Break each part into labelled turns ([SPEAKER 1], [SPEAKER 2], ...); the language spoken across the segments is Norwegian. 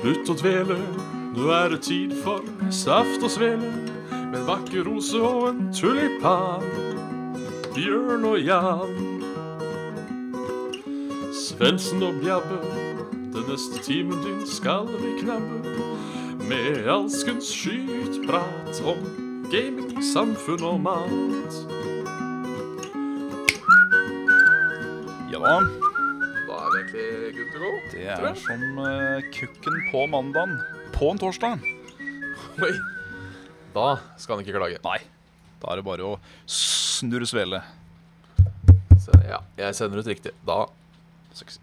[SPEAKER 1] Slutt å dvele, nå er det tid for saft og svele. Med en vakker rose og en tulipan. Bjørn og Jan. Svendsen og Bjabbe, den neste timen din skal vi knabbe. Med alskens skytprat om gaming, samfunn og mat.
[SPEAKER 2] Ja da.
[SPEAKER 1] Da er det egentlig good to go.
[SPEAKER 2] Det er som eh, kukken på mandagen. På en torsdag.
[SPEAKER 1] Oi. Da skal han ikke klage.
[SPEAKER 2] Nei. Da er det bare å snurre svele.
[SPEAKER 1] Så, ja, jeg sender ut riktig. Da
[SPEAKER 2] Suks-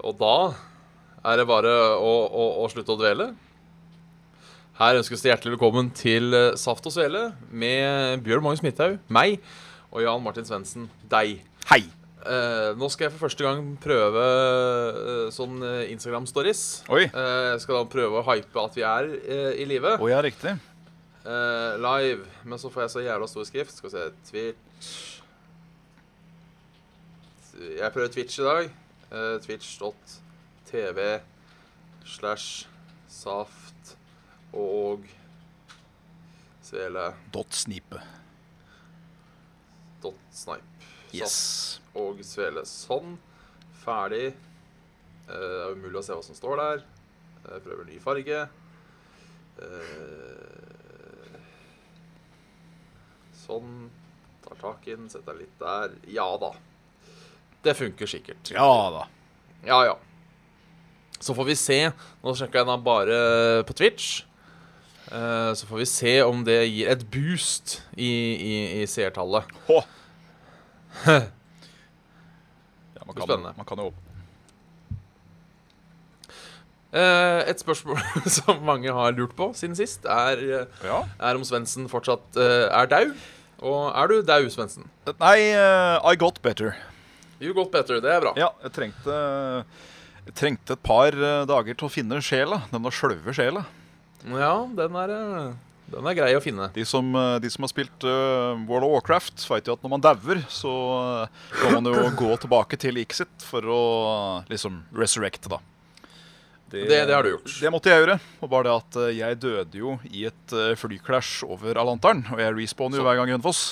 [SPEAKER 1] Og da er det bare å, å, å slutte å dvele. Her ønskes det hjertelig velkommen til eh, Saft og Svele med Bjørn Magnus Midthaug, meg og Jan Martin Svendsen, deg.
[SPEAKER 2] Hei!
[SPEAKER 1] Eh, nå skal jeg for første gang prøve eh, sånn eh, Instagram-stories.
[SPEAKER 2] Oi.
[SPEAKER 1] Eh, jeg skal da prøve å hype at vi er eh, i live.
[SPEAKER 2] Å ja, riktig.
[SPEAKER 1] Eh, live. Men så får jeg så jævla stor skrift. Skal vi se Twitch Jeg prøver Twitch i dag. Eh, Twitch.tv slash saft og svele.snipe.
[SPEAKER 2] Dot snipe. Yes.
[SPEAKER 1] Saft og svele. Sånn. Ferdig. Eh, det er umulig å se hva som står der. Jeg prøver ny farge. Eh, sånn. Tar tak i den, setter den litt der. Ja da. Det funker sikkert.
[SPEAKER 2] Ja da.
[SPEAKER 1] Ja ja. Så får vi se. Nå sjekka jeg da bare på Twitch. Eh, så får vi se om det gir et boost i, i, i seertallet.
[SPEAKER 2] Hå. Ja, man
[SPEAKER 1] Så
[SPEAKER 2] kan,
[SPEAKER 1] spennende.
[SPEAKER 2] Man kan jo opp.
[SPEAKER 1] Eh, et spørsmål som mange har lurt på siden sist, er, eh,
[SPEAKER 2] Ja.
[SPEAKER 1] er om Svendsen fortsatt eh, er dau. Og er du dau, Svendsen?
[SPEAKER 2] Nei, eh, I got better.
[SPEAKER 1] You got better. Det er bra.
[SPEAKER 2] Ja, jeg trengte, jeg trengte et par eh, dager til å finne sjela. Denne sjølve sjela.
[SPEAKER 1] Ja, den er, eh, den er grei å finne.
[SPEAKER 2] De som, eh, de som har spilt eh, World of Warcraft, veit jo at når man dauer, så eh, kan man jo gå tilbake til liket sitt for å eh, liksom resurrecte, da.
[SPEAKER 1] Det- det har du gjort.
[SPEAKER 2] Det måtte jeg gjøre. Og bare det at eh, jeg døde jo i et eh, flykrasj over Alanteren. Og jeg respawner jo hver gang i Hønefoss.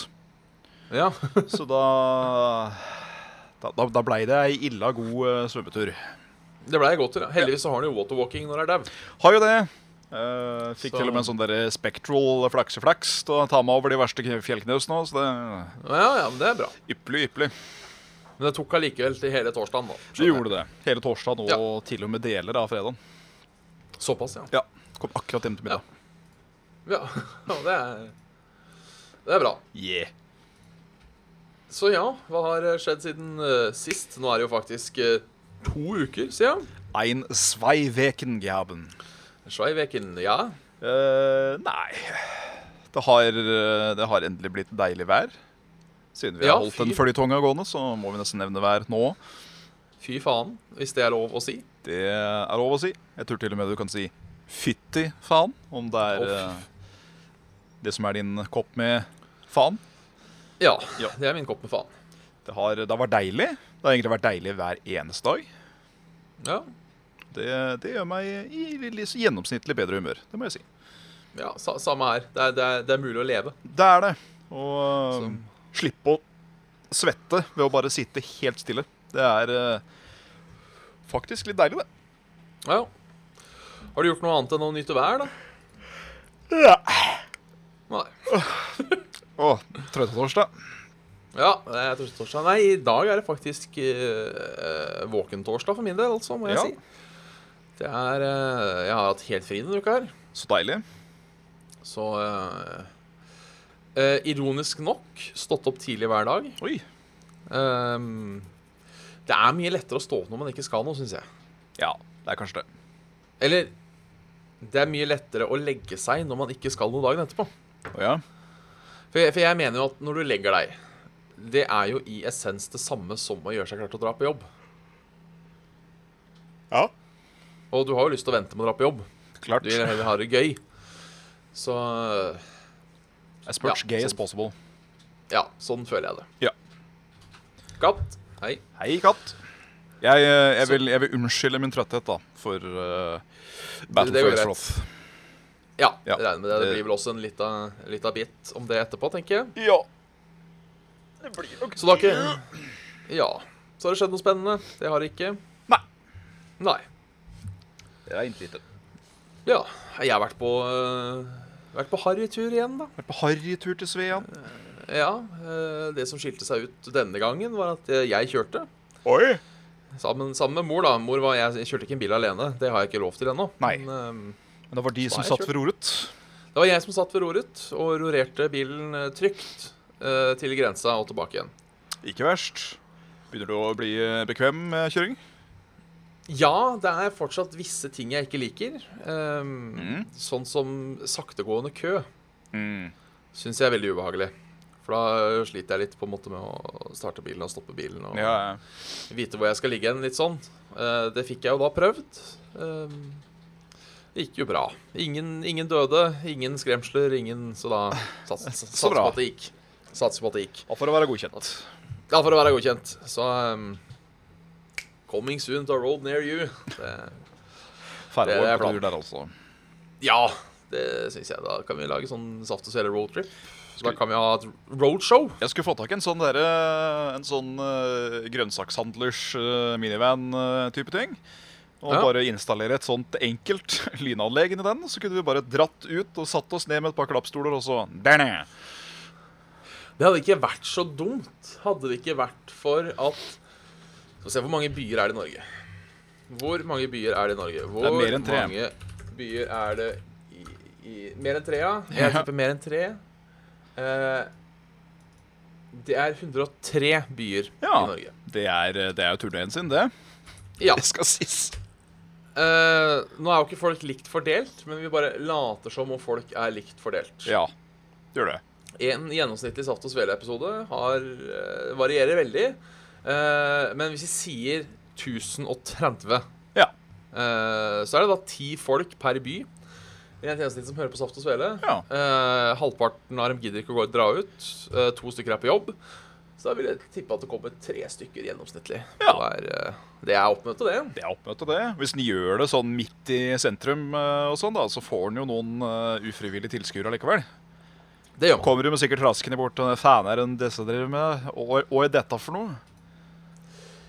[SPEAKER 1] Ja.
[SPEAKER 2] Så da Da, da, da blei det ei illa god eh, svømmetur.
[SPEAKER 1] Det blei godt. ja. Heldigvis så har han jo waterwalking når han er dau.
[SPEAKER 2] Har jo det. Eh, fikk
[SPEAKER 1] Så-
[SPEAKER 2] til og med en sånn der spectral flakseflaks til å ta meg over de verste kn- fjellknausene. Så det er
[SPEAKER 1] Ja, ja, men det er bra.
[SPEAKER 2] ypperlig, ypperlig.
[SPEAKER 1] Men det tok allikevel til hele torsdagen, da.
[SPEAKER 2] Det gjorde det. Hele torsdagen og
[SPEAKER 1] Ja.
[SPEAKER 2] til og med deler av fredagen.
[SPEAKER 1] Såpass, ja.
[SPEAKER 2] Ja. Kom akkurat hjem til middag.
[SPEAKER 1] Ja, ja det, er, det er bra.
[SPEAKER 2] Yeah.
[SPEAKER 1] Så ja, hva har skjedd siden eh, sist? Nå er det jo faktisk eh, to uker siden.
[SPEAKER 2] Ein zwei Weken gehaben.
[SPEAKER 1] Schweiweken, ja.
[SPEAKER 2] Eh, nei det har, eh, det har endelig blitt deilig vær. Siden vi
[SPEAKER 1] Ja,
[SPEAKER 2] har holdt den
[SPEAKER 1] fint.
[SPEAKER 2] føljetonga gående, så må vi nesten nevne vær nå.
[SPEAKER 1] Fy faen, hvis det er lov å si.
[SPEAKER 2] Det er lov å si. Jeg tror til og med du kan si fytti faen, om det er
[SPEAKER 1] Å, fy.
[SPEAKER 2] eh, det som er din kopp med faen.
[SPEAKER 1] Ja,
[SPEAKER 2] Ja.
[SPEAKER 1] det er min kopp med faen.
[SPEAKER 2] Det har, det har vært deilig. Det har egentlig vært deilig hver eneste dag.
[SPEAKER 1] Ja,
[SPEAKER 2] Det, det gjør meg i litt gjennomsnittlig bedre humør, det må jeg si.
[SPEAKER 1] ja sa, samme her. Det er, det, er, det er mulig å leve.
[SPEAKER 2] Det er det. Og eh, slippe å svette ved å bare sitte helt stille. Det er eh, faktisk litt deilig, det.
[SPEAKER 1] Ja. Har du gjort noe annet enn å nyte vær, da? Nei.
[SPEAKER 2] Å, trøttetorsdag.
[SPEAKER 1] Ja, det er torsdag. Nei, i dag er det faktisk eh, våkentorsdag for min del, altså, må jeg
[SPEAKER 2] Ja.
[SPEAKER 1] si. Det er eh, Jeg har hatt helt fri denne uka her,
[SPEAKER 2] Så deilig.
[SPEAKER 1] så eh, eh, Ironisk nok stått opp tidlig hver dag.
[SPEAKER 2] Oi.
[SPEAKER 1] Ehm, det er mye lettere å stå opp når man ikke skal noe, syns jeg.
[SPEAKER 2] Ja, det er kanskje det.
[SPEAKER 1] Eller det er mye lettere å legge seg når man ikke skal noe dagen etterpå.
[SPEAKER 2] Å ja.
[SPEAKER 1] For jeg, for jeg mener jo at når du legger deg, det er jo i essens det samme som å gjøre seg klar til å dra på jobb.
[SPEAKER 2] ja,
[SPEAKER 1] Og du har jo lyst til å vente med å dra på jobb.
[SPEAKER 2] klart.
[SPEAKER 1] Du vil heller ha det gøy. Så
[SPEAKER 2] As much
[SPEAKER 1] Ja,
[SPEAKER 2] gay as
[SPEAKER 1] sånn.
[SPEAKER 2] possible.
[SPEAKER 1] ja, sånn føler jeg det.
[SPEAKER 2] Ja.
[SPEAKER 1] Katt. Hei.
[SPEAKER 2] Hei, katt. Jeg, eh, jeg, vil, jeg vil unnskylde min trøtthet da, for eh, Battle
[SPEAKER 1] Det- det
[SPEAKER 2] for
[SPEAKER 1] går greit.
[SPEAKER 2] Azeroth.
[SPEAKER 1] Ja,
[SPEAKER 2] Ja,
[SPEAKER 1] jeg regner med det. Det
[SPEAKER 2] det-
[SPEAKER 1] blir vel også en lita, lita bit om det etterpå, tenker jeg.
[SPEAKER 2] Ja. Det blir nok
[SPEAKER 1] Så det har ikke Ja. Så har det skjedd noe spennende. Det har det ikke.
[SPEAKER 2] Nei.
[SPEAKER 1] Nei.
[SPEAKER 2] Det er intet lite.
[SPEAKER 1] Ja. Jeg har vært på øh, Vært på harrytur igjen, da.
[SPEAKER 2] Vært på harrytur til Svea.
[SPEAKER 1] Ja. øh, det som skilte seg ut denne gangen, var at øh, jeg kjørte.
[SPEAKER 2] Oi!
[SPEAKER 1] Sammen, sammen med mor, da. Mor var, jeg, jeg kjørte ikke en bil alene. Det har jeg ikke lov til ennå.
[SPEAKER 2] Nei.
[SPEAKER 1] Men, øh,
[SPEAKER 2] Men det var de
[SPEAKER 1] Så
[SPEAKER 2] som
[SPEAKER 1] er jeg
[SPEAKER 2] satt
[SPEAKER 1] kjørt.
[SPEAKER 2] ved roret.
[SPEAKER 1] Det var jeg som satt ved roret og rorerte bilen eh, trygt eh, til grensa og tilbake igjen.
[SPEAKER 2] Ikke verst. Begynner du å bli eh, bekvem med kjøring?
[SPEAKER 1] Ja, det er fortsatt visse ting jeg ikke liker. ehm,
[SPEAKER 2] Mm.
[SPEAKER 1] Sånn som saktegående kø
[SPEAKER 2] Mm.
[SPEAKER 1] syns jeg er veldig ubehagelig. For da eh, sliter jeg litt på en måte med å starte bilen og stoppe bilen og
[SPEAKER 2] Ja, ja.
[SPEAKER 1] vite hvor jeg skal ligge hen. Litt sånn. Eh, det fikk jeg jo da prøvd. Ehm, det gikk jo bra. Ingen, ingen døde, ingen skremsler, ingen Så da sats, satser på
[SPEAKER 2] bra.
[SPEAKER 1] at det gikk. Satser på at det gikk.
[SPEAKER 2] Og for å være godkjent.
[SPEAKER 1] Ja, for å være godkjent. Så um, Coming soon to a road near you. Det,
[SPEAKER 2] Færre
[SPEAKER 1] Det er
[SPEAKER 2] år
[SPEAKER 1] planen.
[SPEAKER 2] blir der, altså.
[SPEAKER 1] ja, det syns jeg. Da kan vi lage sånn Saft og Svele roadtrip. Så da kan vi ha et roadshow.
[SPEAKER 2] Jeg skulle få tak i en sånn, derre, en sånn eh, grønnsakshandlers eh, minivan-type ting. Og
[SPEAKER 1] Ja.
[SPEAKER 2] bare installere et sånt enkelt lynanlegg inni den. Så kunne vi bare dratt ut og satt oss ned med et par klappstoler, og så der nede.
[SPEAKER 1] Det hadde ikke vært så dumt hadde det ikke vært for at Skal vi se, hvor mange byer er det i Norge? Hvor mange byer er det i Norge? Hvor
[SPEAKER 2] er mer enn tre.
[SPEAKER 1] mange byer er det i, i Mer enn tre, ja? Jeg
[SPEAKER 2] Ja.
[SPEAKER 1] tipper mer enn tre. Eh, det er 103 byer
[SPEAKER 2] Ja.
[SPEAKER 1] i Norge.
[SPEAKER 2] Det er, eh, det er jo turneen sin, det.
[SPEAKER 1] Ja.
[SPEAKER 2] Det skal sies.
[SPEAKER 1] Eh, nå er jo ikke folk likt fordelt, men vi bare later som om folk er likt fordelt.
[SPEAKER 2] Ja, det gjør det.
[SPEAKER 1] En gjennomsnittlig Saft og Svele-episode har, eh, varierer veldig. Eh, men hvis vi sier 1030,
[SPEAKER 2] Ja.
[SPEAKER 1] eh, så er det da ti folk per by i en tjeneste som hører på Saft og Svele.
[SPEAKER 2] Ja.
[SPEAKER 1] Eh, halvparten av dem gidder ikke å gå og dra ut. Eh, to stykker er på jobb. Så da vil jeg tippe at det kommer tre stykker gjennomsnittlig.
[SPEAKER 2] Ja.
[SPEAKER 1] Det er, eh, det er oppmøte, det.
[SPEAKER 2] Det er oppmøte, det. Hvis den gjør det sånn midt i sentrum, eh, og sånn da, så får den jo noen eh, ufrivillige tilskuere likevel.
[SPEAKER 1] Det gjør man.
[SPEAKER 2] Kommer du med sikkert raskende bort og faen er det disse driver med, og, og er dette for noe?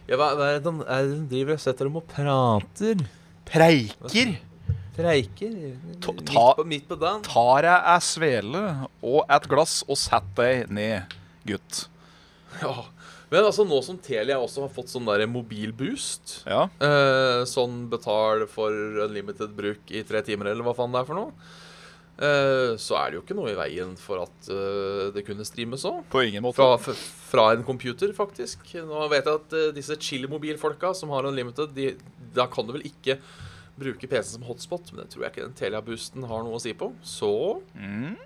[SPEAKER 1] Ja, hva, hva er det den, er det den driver og setter dem og prater?
[SPEAKER 2] Preiker?
[SPEAKER 1] Preiker?
[SPEAKER 2] Ta-
[SPEAKER 1] midt,
[SPEAKER 2] ta-
[SPEAKER 1] på, midt på dagen?
[SPEAKER 2] Tar jeg ei svele og et glass og sett deg ned, gutt.
[SPEAKER 1] Ja. Men altså nå som Telia også har fått sånn der mobilboost
[SPEAKER 2] Ja,
[SPEAKER 1] eh, Sånn betal for unlimited bruk i tre timer, eller hva faen det er for noe. Eh, så er det jo ikke noe i veien for at eh, det kunne streames òg.
[SPEAKER 2] på ingen måte.
[SPEAKER 1] Fra, f- fra en computer, faktisk. Nå vet jeg at eh, disse chill-mobilfolka som har unlimited, de, da kan du vel ikke bruke PC-en som hotspot, men det tror jeg ikke den Telia-boosten har noe å si på. Så
[SPEAKER 2] Mm.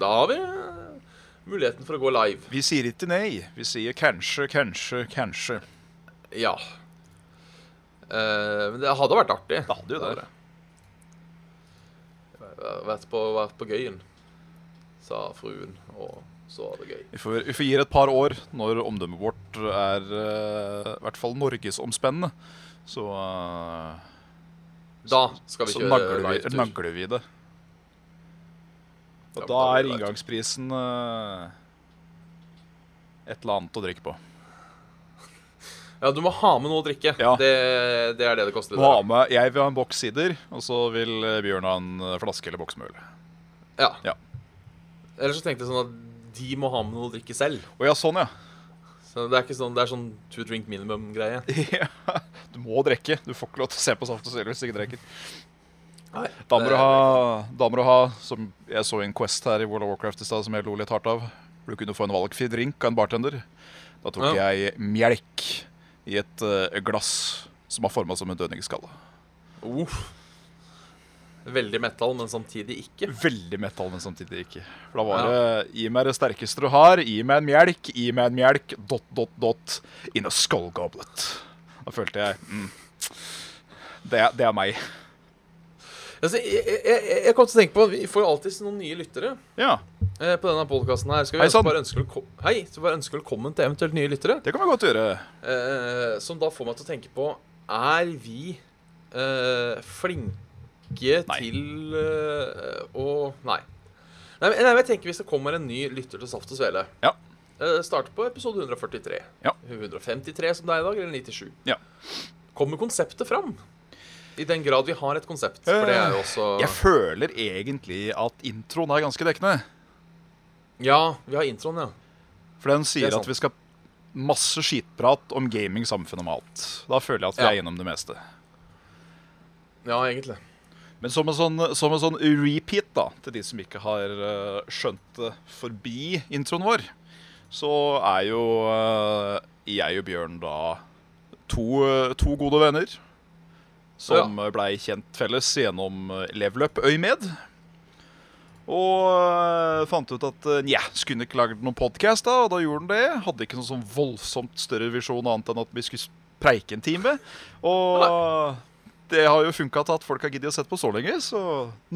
[SPEAKER 1] da har vi eh, muligheten for å gå live.
[SPEAKER 2] Vi sier ikke nei. Vi sier kanskje, kanskje, kanskje.
[SPEAKER 1] Ja. Eh, men det hadde vært artig.
[SPEAKER 2] Det hadde jo det.
[SPEAKER 1] Vært- Vært på, vært på gøyen, sa fruen, og så var det gøy.
[SPEAKER 2] Vi får, vi får gi det et par år når omdømmet vårt er eh, i hvert fall norgesomspennende. Så, eh,
[SPEAKER 1] Da skal vi
[SPEAKER 2] så
[SPEAKER 1] kjøre
[SPEAKER 2] nagler, vi,
[SPEAKER 1] livetur.
[SPEAKER 2] nagler vi det.
[SPEAKER 1] Ja,
[SPEAKER 2] Og da
[SPEAKER 1] da blir
[SPEAKER 2] er
[SPEAKER 1] det livetur.
[SPEAKER 2] inngangsprisen eh, et eller annet å drikke på.
[SPEAKER 1] Ja, du må ha med noe å drikke.
[SPEAKER 2] Ja.
[SPEAKER 1] Det, det er det det koster.
[SPEAKER 2] Må ha med, jeg vil ha en boks sider, og så vil eh, Bjørn ha en eh, flaske eller boks med øl.
[SPEAKER 1] Ja.
[SPEAKER 2] Ja.
[SPEAKER 1] Eller så tenkte jeg sånn at de må ha med noe å drikke selv.
[SPEAKER 2] Å ja, sånn ja.
[SPEAKER 1] Så Det er ikke sånn, det er sånn two drink minimum-greie.
[SPEAKER 2] Ja, du må drikke. Du får ikke lov til å se på Saft og Svele hvis du ikke drikker.
[SPEAKER 1] Nei,
[SPEAKER 2] Da må,
[SPEAKER 1] det-
[SPEAKER 2] du ha, da må du ha, som jeg så i en Quest her i World of Warcraft i stad, som jeg lo litt hardt av. Du kunne få en valgfri drink av en bartender. Da tok
[SPEAKER 1] Ja.
[SPEAKER 2] jeg melk i et eh, glass som var forma som en dødningskalle.
[SPEAKER 1] Uff. Veldig metal, men samtidig ikke.
[SPEAKER 2] Veldig metal, men samtidig ikke. For da var det gi meg det sterkeste du har, gi meg en melk, gi meg en melk, dot, dot, dot, in a skull goblet. Da følte jeg mm, det, er- det er meg.
[SPEAKER 1] Altså, jeg, jeg, jeg- jeg kom til å tenke på Vi får jo alltid noen nye lyttere
[SPEAKER 2] Ja,
[SPEAKER 1] eh, på denne podkasten her. Skal vi
[SPEAKER 2] Hei,
[SPEAKER 1] altså
[SPEAKER 2] sann.
[SPEAKER 1] bare ønske velko- Hei, så bare ønske velkommen til eventuelt nye lyttere.
[SPEAKER 2] det kan vi godt gjøre.
[SPEAKER 1] Eh, som da får meg til å tenke på Er vi eh, flinke
[SPEAKER 2] Nei.
[SPEAKER 1] til eh, å Nei. Nei, men- nei, men jeg tenker Hvis det kommer en ny lytter til Saft og Svele
[SPEAKER 2] Ja.
[SPEAKER 1] eh, Start på episode 143.
[SPEAKER 2] Ja.
[SPEAKER 1] 153 som det er i dag, eller 97.
[SPEAKER 2] Ja.
[SPEAKER 1] Kommer konseptet fram? I den grad vi har et konsept. For
[SPEAKER 2] Eh,
[SPEAKER 1] det er jo også
[SPEAKER 2] Jeg føler egentlig at introen er ganske dekkende.
[SPEAKER 1] Ja, vi har introen, ja.
[SPEAKER 2] For den
[SPEAKER 1] Det
[SPEAKER 2] sier
[SPEAKER 1] er
[SPEAKER 2] at
[SPEAKER 1] sant.
[SPEAKER 2] vi skal masse skitprat om gaming, samfunn og mat. Da føler jeg at vi
[SPEAKER 1] Ja.
[SPEAKER 2] er gjennom det meste.
[SPEAKER 1] Ja, egentlig.
[SPEAKER 2] Men som en sånn, som en sånn repeat da, til de som ikke har eh, skjønt det forbi introen vår, så er jo eh, jeg og Bjørn da to, eh, to gode venner som eh, blei kjent felles gjennom eh, Leveløp Øymed. Og eh, fant ut at eh, nja, skulle ikke lagd noen podkast, da, og da gjorde den det. Hadde ikke noen sånn voldsomt større visjon annet enn at vi skulle preike en time. Og det har jo funka til at folk har giddet å sette på så lenge, så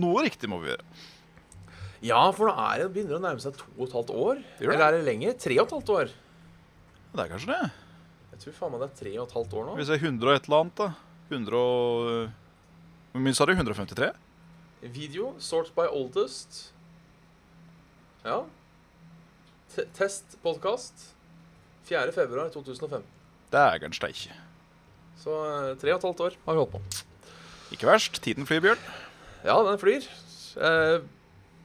[SPEAKER 2] noe riktig må vi gjøre.
[SPEAKER 1] Ja, for nå er det begynner å nærme seg to og et halvt år.
[SPEAKER 2] Det gjør det.
[SPEAKER 1] Eller er det lenger? Tre og et halvt år.
[SPEAKER 2] Det er kanskje det.
[SPEAKER 1] Jeg tror faen meg det er tre og et halvt år nå.
[SPEAKER 2] Hvis det er 100 og et eller annet, da. 100 og Hvor mye sa du? 153?
[SPEAKER 1] Video, sort by oldest. Ja. T test podcast. 4. februar 2015.
[SPEAKER 2] Det er kanskje det ikke.
[SPEAKER 1] Så eh, tre og et halvt år har vi holdt på.
[SPEAKER 2] Ikke verst. Tiden flyr, Bjørn.
[SPEAKER 1] Ja, den flyr. Eh,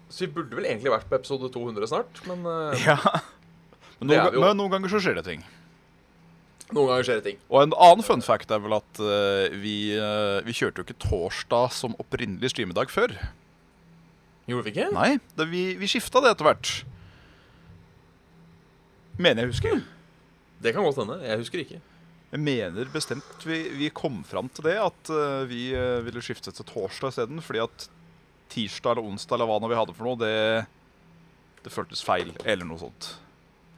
[SPEAKER 1] så vi burde vel egentlig vært på episode 200 snart, men eh,
[SPEAKER 2] Ja. Men noen,
[SPEAKER 1] Det er vi
[SPEAKER 2] ga-
[SPEAKER 1] jo.
[SPEAKER 2] men noen ganger så skjer det ting.
[SPEAKER 1] noen ganger skjer det ting.
[SPEAKER 2] Og en annen fun fact er vel at eh, vi, eh, vi kjørte jo ikke torsdag som opprinnelig streamedag før.
[SPEAKER 1] Gjorde vi ikke?
[SPEAKER 2] Nei, det, vi, vi skifta det etter hvert. Mener jeg husker.
[SPEAKER 1] Det kan godt hende. Jeg husker ikke.
[SPEAKER 2] Jeg mener bestemt vi, vi kom fram til det, at eh, vi eh, ville skifte til torsdag isteden. Fordi at tirsdag eller onsdag eller hva nå vi hadde for noe, det, det føltes feil. Eller noe sånt.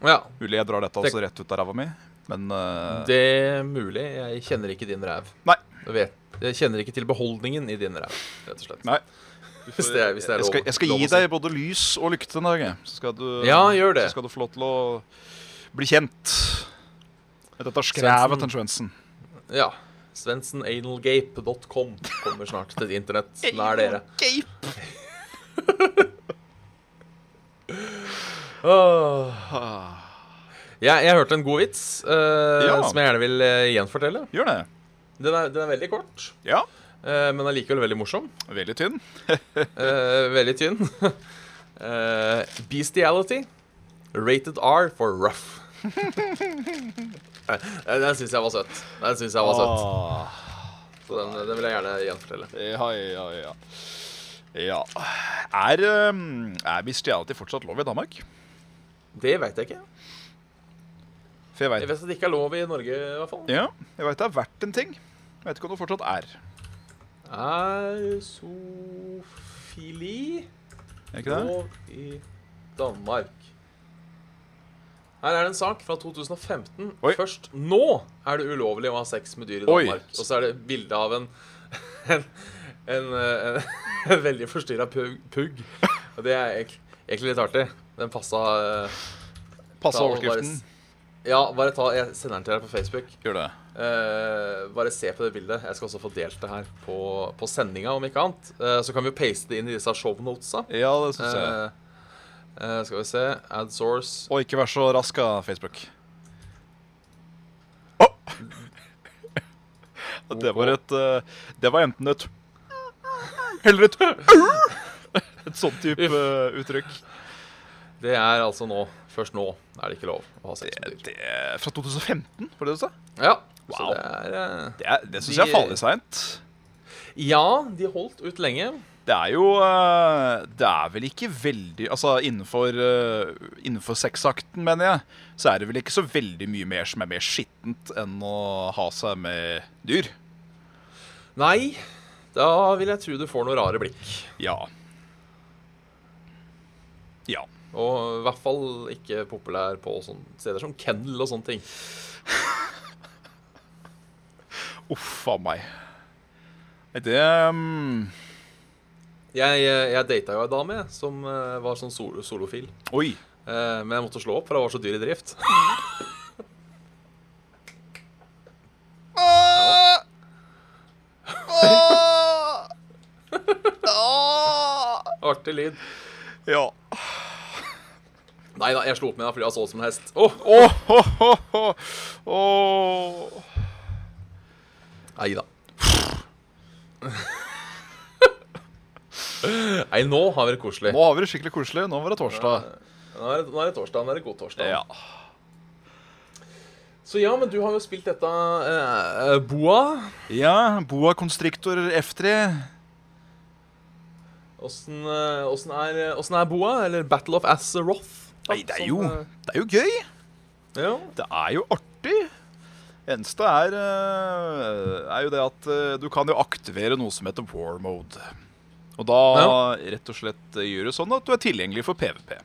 [SPEAKER 1] Ja,
[SPEAKER 2] Mulig jeg drar dette
[SPEAKER 1] Det-
[SPEAKER 2] også rett ut av ræva mi, men eh,
[SPEAKER 1] det er mulig. Jeg kjenner ikke din ræv.
[SPEAKER 2] Nei.
[SPEAKER 1] Jeg, vet, jeg kjenner ikke til beholdningen i din ræv, rett og slett.
[SPEAKER 2] Nei.
[SPEAKER 1] Hvis det er, hvis det er
[SPEAKER 2] jeg, skal,
[SPEAKER 1] lov-
[SPEAKER 2] jeg skal
[SPEAKER 1] lov å
[SPEAKER 2] gi
[SPEAKER 1] si.
[SPEAKER 2] deg både lys og lykte en dag. jeg. Så skal du,
[SPEAKER 1] Ja, gjør det.
[SPEAKER 2] Så skal du få lov til å bli kjent. Med dette skrevet til Svendsen.
[SPEAKER 1] Ja. Svensenanalgape.com kommer snart til internett. Nær dere. Åh. Ah. Jeg, jeg hørte en god vits eh,
[SPEAKER 2] Ja.
[SPEAKER 1] som jeg gjerne vil eh, gjenfortelle.
[SPEAKER 2] Gjør det.
[SPEAKER 1] Den er, den er veldig kort,
[SPEAKER 2] Ja.
[SPEAKER 1] eh, men allikevel veldig morsom.
[SPEAKER 2] Veldig tynn.
[SPEAKER 1] Eh, veldig tynn. Eh, bestiality. Rated R for rough. Nei, den syns jeg var søt. Den synes jeg var søt.
[SPEAKER 2] Åh.
[SPEAKER 1] Så den, den vil jeg gjerne gjenfortelle.
[SPEAKER 2] Ja, ja, ja. Ja. Er, ehm, er bestiality fortsatt lov i Danmark?
[SPEAKER 1] Det veit jeg ikke.
[SPEAKER 2] For jeg
[SPEAKER 1] Jeg
[SPEAKER 2] vet,
[SPEAKER 1] vet at det ikke er lov i Norge, i hvert fall.
[SPEAKER 2] ja, jeg vet det har vært en ting. Jeg vet ikke om det fortsatt er.
[SPEAKER 1] Er sofili
[SPEAKER 2] Er ikke det?
[SPEAKER 1] lov i Danmark? Her er det en sak fra 2015.
[SPEAKER 2] Oi.
[SPEAKER 1] Først nå er det ulovlig å ha sex med dyr i
[SPEAKER 2] Oi.
[SPEAKER 1] Danmark. Og så er det bilde av en en, en, en, en veldig forstyrra pugg. pugg. Og det er egentlig, egentlig litt artig. Den passa eh,
[SPEAKER 2] Passe
[SPEAKER 1] ta og bare
[SPEAKER 2] overskriften.
[SPEAKER 1] s- Ja, bare ta Jeg sender den til deg på Facebook.
[SPEAKER 2] Gjør det.
[SPEAKER 1] Eh, bare se på det bildet. Jeg skal også få delt det her på, på sendinga, om ikke annet. Eh, så kan vi jo paste det inn i disse shownotesa.
[SPEAKER 2] Ja, det syns jeg.
[SPEAKER 1] Uh, Eh, skal vi se Ad source.
[SPEAKER 2] Og ikke vær så rask av Facebook. Å! Det var et eh, Det var enten et Heller et Et sånt type eh, uttrykk.
[SPEAKER 1] Det er altså nå. Først nå er det ikke lov å ha sex med dyr.
[SPEAKER 2] Det, er fra 2015, var det du sa?
[SPEAKER 1] Ja, så
[SPEAKER 2] Wow.
[SPEAKER 1] det er eh,
[SPEAKER 2] Det, er- det syns jeg er farlig seint.
[SPEAKER 1] Ja, de holdt ut lenge.
[SPEAKER 2] Det er jo eh, Det er vel ikke veldig Altså innenfor, eh, innenfor sexakten, mener jeg, så er det vel ikke så veldig mye mer som er mer skittent enn å ha seg med dyr.
[SPEAKER 1] Nei, da vil jeg tro du får noen rare blikk.
[SPEAKER 2] Ja. Ja.
[SPEAKER 1] Og i hvert fall ikke populær på sånne steder som kennel og sånne ting.
[SPEAKER 2] Uff a meg. Nei, Det mm,
[SPEAKER 1] Jeg, eh, jeg data jo ei dame jeg, som eh, var sånn sol solofil.
[SPEAKER 2] Oi.
[SPEAKER 1] Eh, Men jeg måtte slå opp, for jeg var så dyr i drift.
[SPEAKER 2] Ah! Ah! Ah!
[SPEAKER 1] Artig lyd.
[SPEAKER 2] Ja.
[SPEAKER 1] Nei da, jeg slo opp med henne fordi jeg så ut som en hest. Åh,
[SPEAKER 2] Åh, åh, åh, åh. Åh.
[SPEAKER 1] Nei da. Nei, nå har vi det koselig.
[SPEAKER 2] Nå har vi det skikkelig koselig. Nå var det torsdag.
[SPEAKER 1] Nå er det, nå er det torsdag. Nå er det god torsdag.
[SPEAKER 2] Ja.
[SPEAKER 1] Så ja, men du har jo spilt dette eh, eh, Boa.
[SPEAKER 2] ja Boa constrictor F3.
[SPEAKER 1] Åssen eh, åssen er, åssen er Boa? Eller Battle of Azeroth?
[SPEAKER 2] Nei, det er
[SPEAKER 1] Som,
[SPEAKER 2] jo,
[SPEAKER 1] eh,
[SPEAKER 2] det er jo gøy.
[SPEAKER 1] Ja.
[SPEAKER 2] Det er jo artig. Eneste er, eh, er jo det at eh, du kan jo aktivere noe som heter war mode. Og da rett og slett eh, gjør det sånn at du er tilgjengelig for PVP.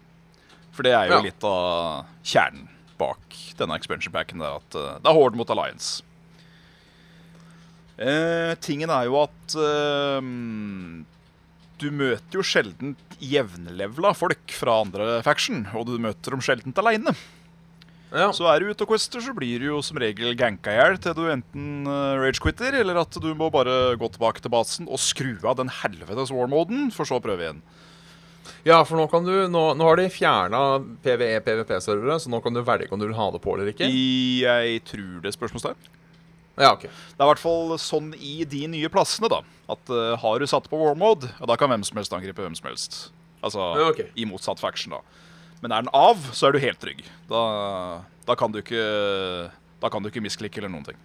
[SPEAKER 2] For det er jo
[SPEAKER 1] Ja.
[SPEAKER 2] litt av kjernen bak denne expansion packen. Der, at eh, det er Horde mot Alliance. Eh, tingen er jo at eh, du møter jo sjelden jevnlevela folk fra andre faction. Og du møter dem sjelden aleine.
[SPEAKER 1] ja.
[SPEAKER 2] Så er du ute og quester, så blir du jo som regel ganka i hjel til du enten eh, ragequitter, eller at du må bare gå tilbake til basen og skru av den helvetes war-moden, for så å prøve igjen.
[SPEAKER 1] ja, for nå kan du Nå, nå har de fjerna E, PVE-PVP-servere, så nå kan du velge om du vil ha det på eller ikke.
[SPEAKER 2] I, jeg tror det er spørsmålstegn.
[SPEAKER 1] Ja, ok.
[SPEAKER 2] Det er i hvert fall sånn i de nye plassene, da. At eh, har du satt på war-mode, ja, da kan hvem som helst angripe hvem som helst. Altså
[SPEAKER 1] Ja, ok.
[SPEAKER 2] i motsatt faction, da. Men er den av, så er du helt trygg. Da, da kan du ikke Da kan du ikke misklikke eller noen ting.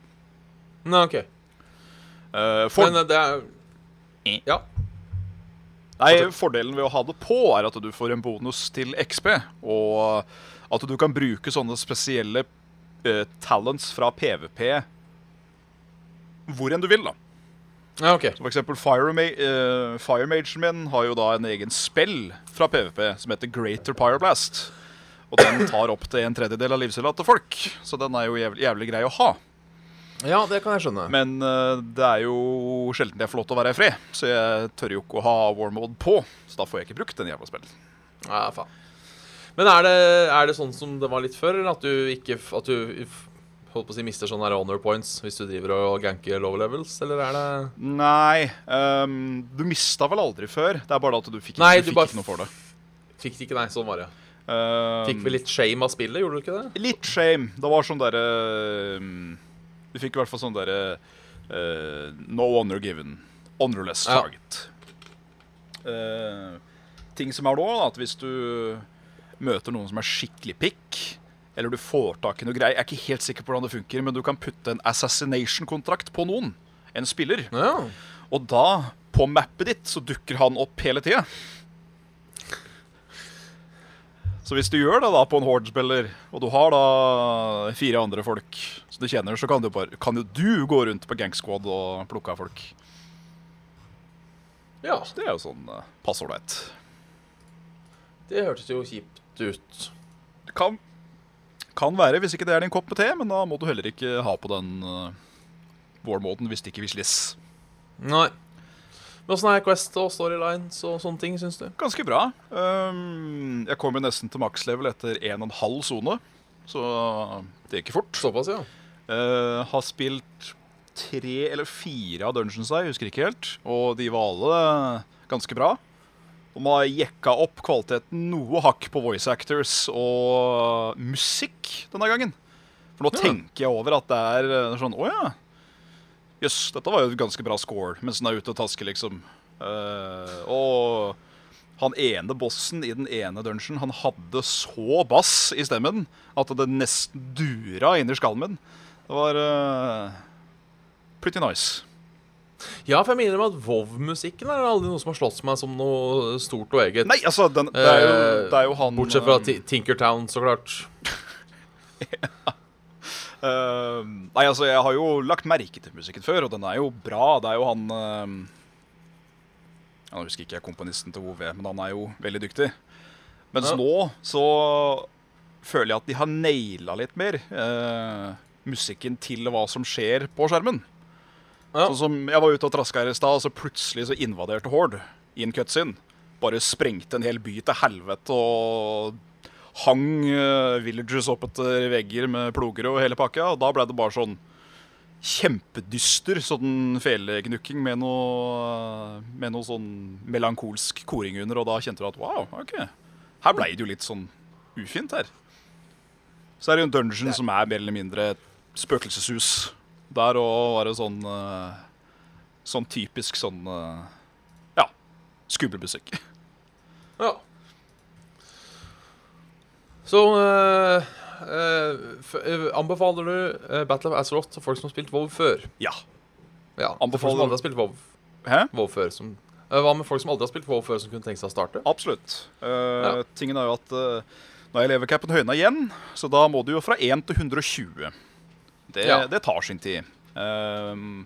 [SPEAKER 1] Nei, ok.
[SPEAKER 2] Eh, for,
[SPEAKER 1] Men eh, det er Ja.
[SPEAKER 2] Nei, Fordelen ved å ha det på er at du får en bonus til XP, og at du kan bruke sånne spesielle eh, talents fra PVP hvor enn du vil. da.
[SPEAKER 1] Ja, ok.
[SPEAKER 2] Så For eksempel Fire, Ma eh, Fire Magen min har jo da en egen spill fra PVP som heter Greater Pyroblast. Og den tar opp til en tredjedel av livscella til folk, så den er jo jævlig, jævlig grei å ha.
[SPEAKER 1] Ja, det kan jeg skjønne.
[SPEAKER 2] Men eh, det er jo sjelden det er for lov til å være i fred, så jeg tør jo ikke å ha war mode på. Så da får jeg ikke brukt den jævla spillen.
[SPEAKER 1] Ja, faen. Men er det, er det sånn som det var litt før, eller at du ikke f- At du f- holdt på å si mister sånne her honor points hvis du driver og ganker low levels, eller er det
[SPEAKER 2] Nei, ehm, du mista vel aldri før. Det er bare at du fikk,
[SPEAKER 1] Nei,
[SPEAKER 2] du
[SPEAKER 1] du
[SPEAKER 2] fikk
[SPEAKER 1] bare-
[SPEAKER 2] ikke noe for det.
[SPEAKER 1] Fikk det ikke, nei. Sånn var det.
[SPEAKER 2] Ehm,
[SPEAKER 1] Fikk vi litt shame av spillet, gjorde du ikke det?
[SPEAKER 2] litt shame. Det var sånn derre ehm, Du fikk i hvert fall sånn derre eh, No honor given. Honorless
[SPEAKER 1] Ja.
[SPEAKER 2] target. Eh, ting som er nå, da, at hvis du møter noen som er skikkelig pikk, eller du får tak i noe greier Jeg er ikke helt sikker på hvordan det funker, men du kan putte en assassination-kontrakt på noen. En spiller.
[SPEAKER 1] Ja.
[SPEAKER 2] Og da, på mappet ditt, så dukker han opp hele tida. Så hvis du gjør det da på en Horde-spiller, og du har da fire andre folk som du kjenner, så kan, du bare, kan jo du gå rundt på Gang Squad og plukke av folk.
[SPEAKER 1] ja.
[SPEAKER 2] Så det er jo sånn eh, pass ålreit.
[SPEAKER 1] Det hørtes jo kjipt ut.
[SPEAKER 2] Det Kan, kan være, hvis ikke det er din kopp med te, men da må du heller ikke ha på den eh, vårmåten hvis det ikke vil sliss.
[SPEAKER 1] Nei. Men åssen er Quest og storylines og sånne ting, syns du?
[SPEAKER 2] Ganske bra. Ehm, jeg kom jo nesten til makslevel etter en og en halv sone, så det gikk fort.
[SPEAKER 1] Såpass, ja.
[SPEAKER 2] Eh, har spilt tre eller fire av Dungeons her, jeg husker ikke helt. Og de var alle ganske bra. De har jekka opp kvaliteten noe hakk på voice actors og musikk denne gangen. For nå
[SPEAKER 1] Ja.
[SPEAKER 2] tenker jeg over at det er eh, sånn Å ja. Jøss, dette var jo et ganske bra score mens den er ute og tasker, liksom. Eh, og han ene bossen i den ene dungeon, han hadde så bass i stemmen at det nesten dura inni skallen min. Det var eh, pretty nice.
[SPEAKER 1] Ja, for jeg minner om at Vov-musikken er det aldri noe som har slått meg som noe stort og eget.
[SPEAKER 2] Nei, altså, den, det, er jo,
[SPEAKER 1] Eh,
[SPEAKER 2] det er jo han
[SPEAKER 1] Bortsett fra
[SPEAKER 2] eh,
[SPEAKER 1] Ti- Tinkertown, så klart.
[SPEAKER 2] Eh, nei, altså, jeg har jo lagt merke til musikken før, og den er jo bra. Det er jo han eh, Jeg husker ikke jeg komponisten til OV, men han er jo veldig dyktig. Mens
[SPEAKER 1] Ja.
[SPEAKER 2] nå så føler jeg at de har naila litt mer eh, musikken til hva som skjer på skjermen.
[SPEAKER 1] Ja.
[SPEAKER 2] Sånn som jeg var ute og traska her i stad, og så plutselig så invaderte Horde i en cutscene. Bare sprengte en hel by til helvete og hang eh, villagers opp etter vegger med ploger og hele pakka. Og da ble det bare sånn kjempedyster sånn feleknukking med noe, med noe sånn melankolsk koring under, og da kjente du at wow, OK. Her blei det jo litt sånn ufint her. Så er det jo en dungeon som er mer eller mindre et spøkelseshus. Der òg var det sånn eh, Sånn typisk sånn eh, Ja, skummel musikk.
[SPEAKER 1] Ja. Så eh, eh, f eh, anbefaler du eh, Battle of Azeroth til folk som har spilt WoW før?
[SPEAKER 2] Ja.
[SPEAKER 1] Ja, til folk som
[SPEAKER 2] Anbefaler-
[SPEAKER 1] aldri har spilt WoW,
[SPEAKER 2] Hæ?
[SPEAKER 1] WoW før som, eh, Hva med folk som aldri har spilt WoW før, som kunne tenkt seg å starte?
[SPEAKER 2] Absolutt. Eh, Tingen er jo at eh, nå er elevcapen høyna igjen, så da må du jo fra 1 til 120. Det,
[SPEAKER 1] Ja.
[SPEAKER 2] det tar sin tid. Um,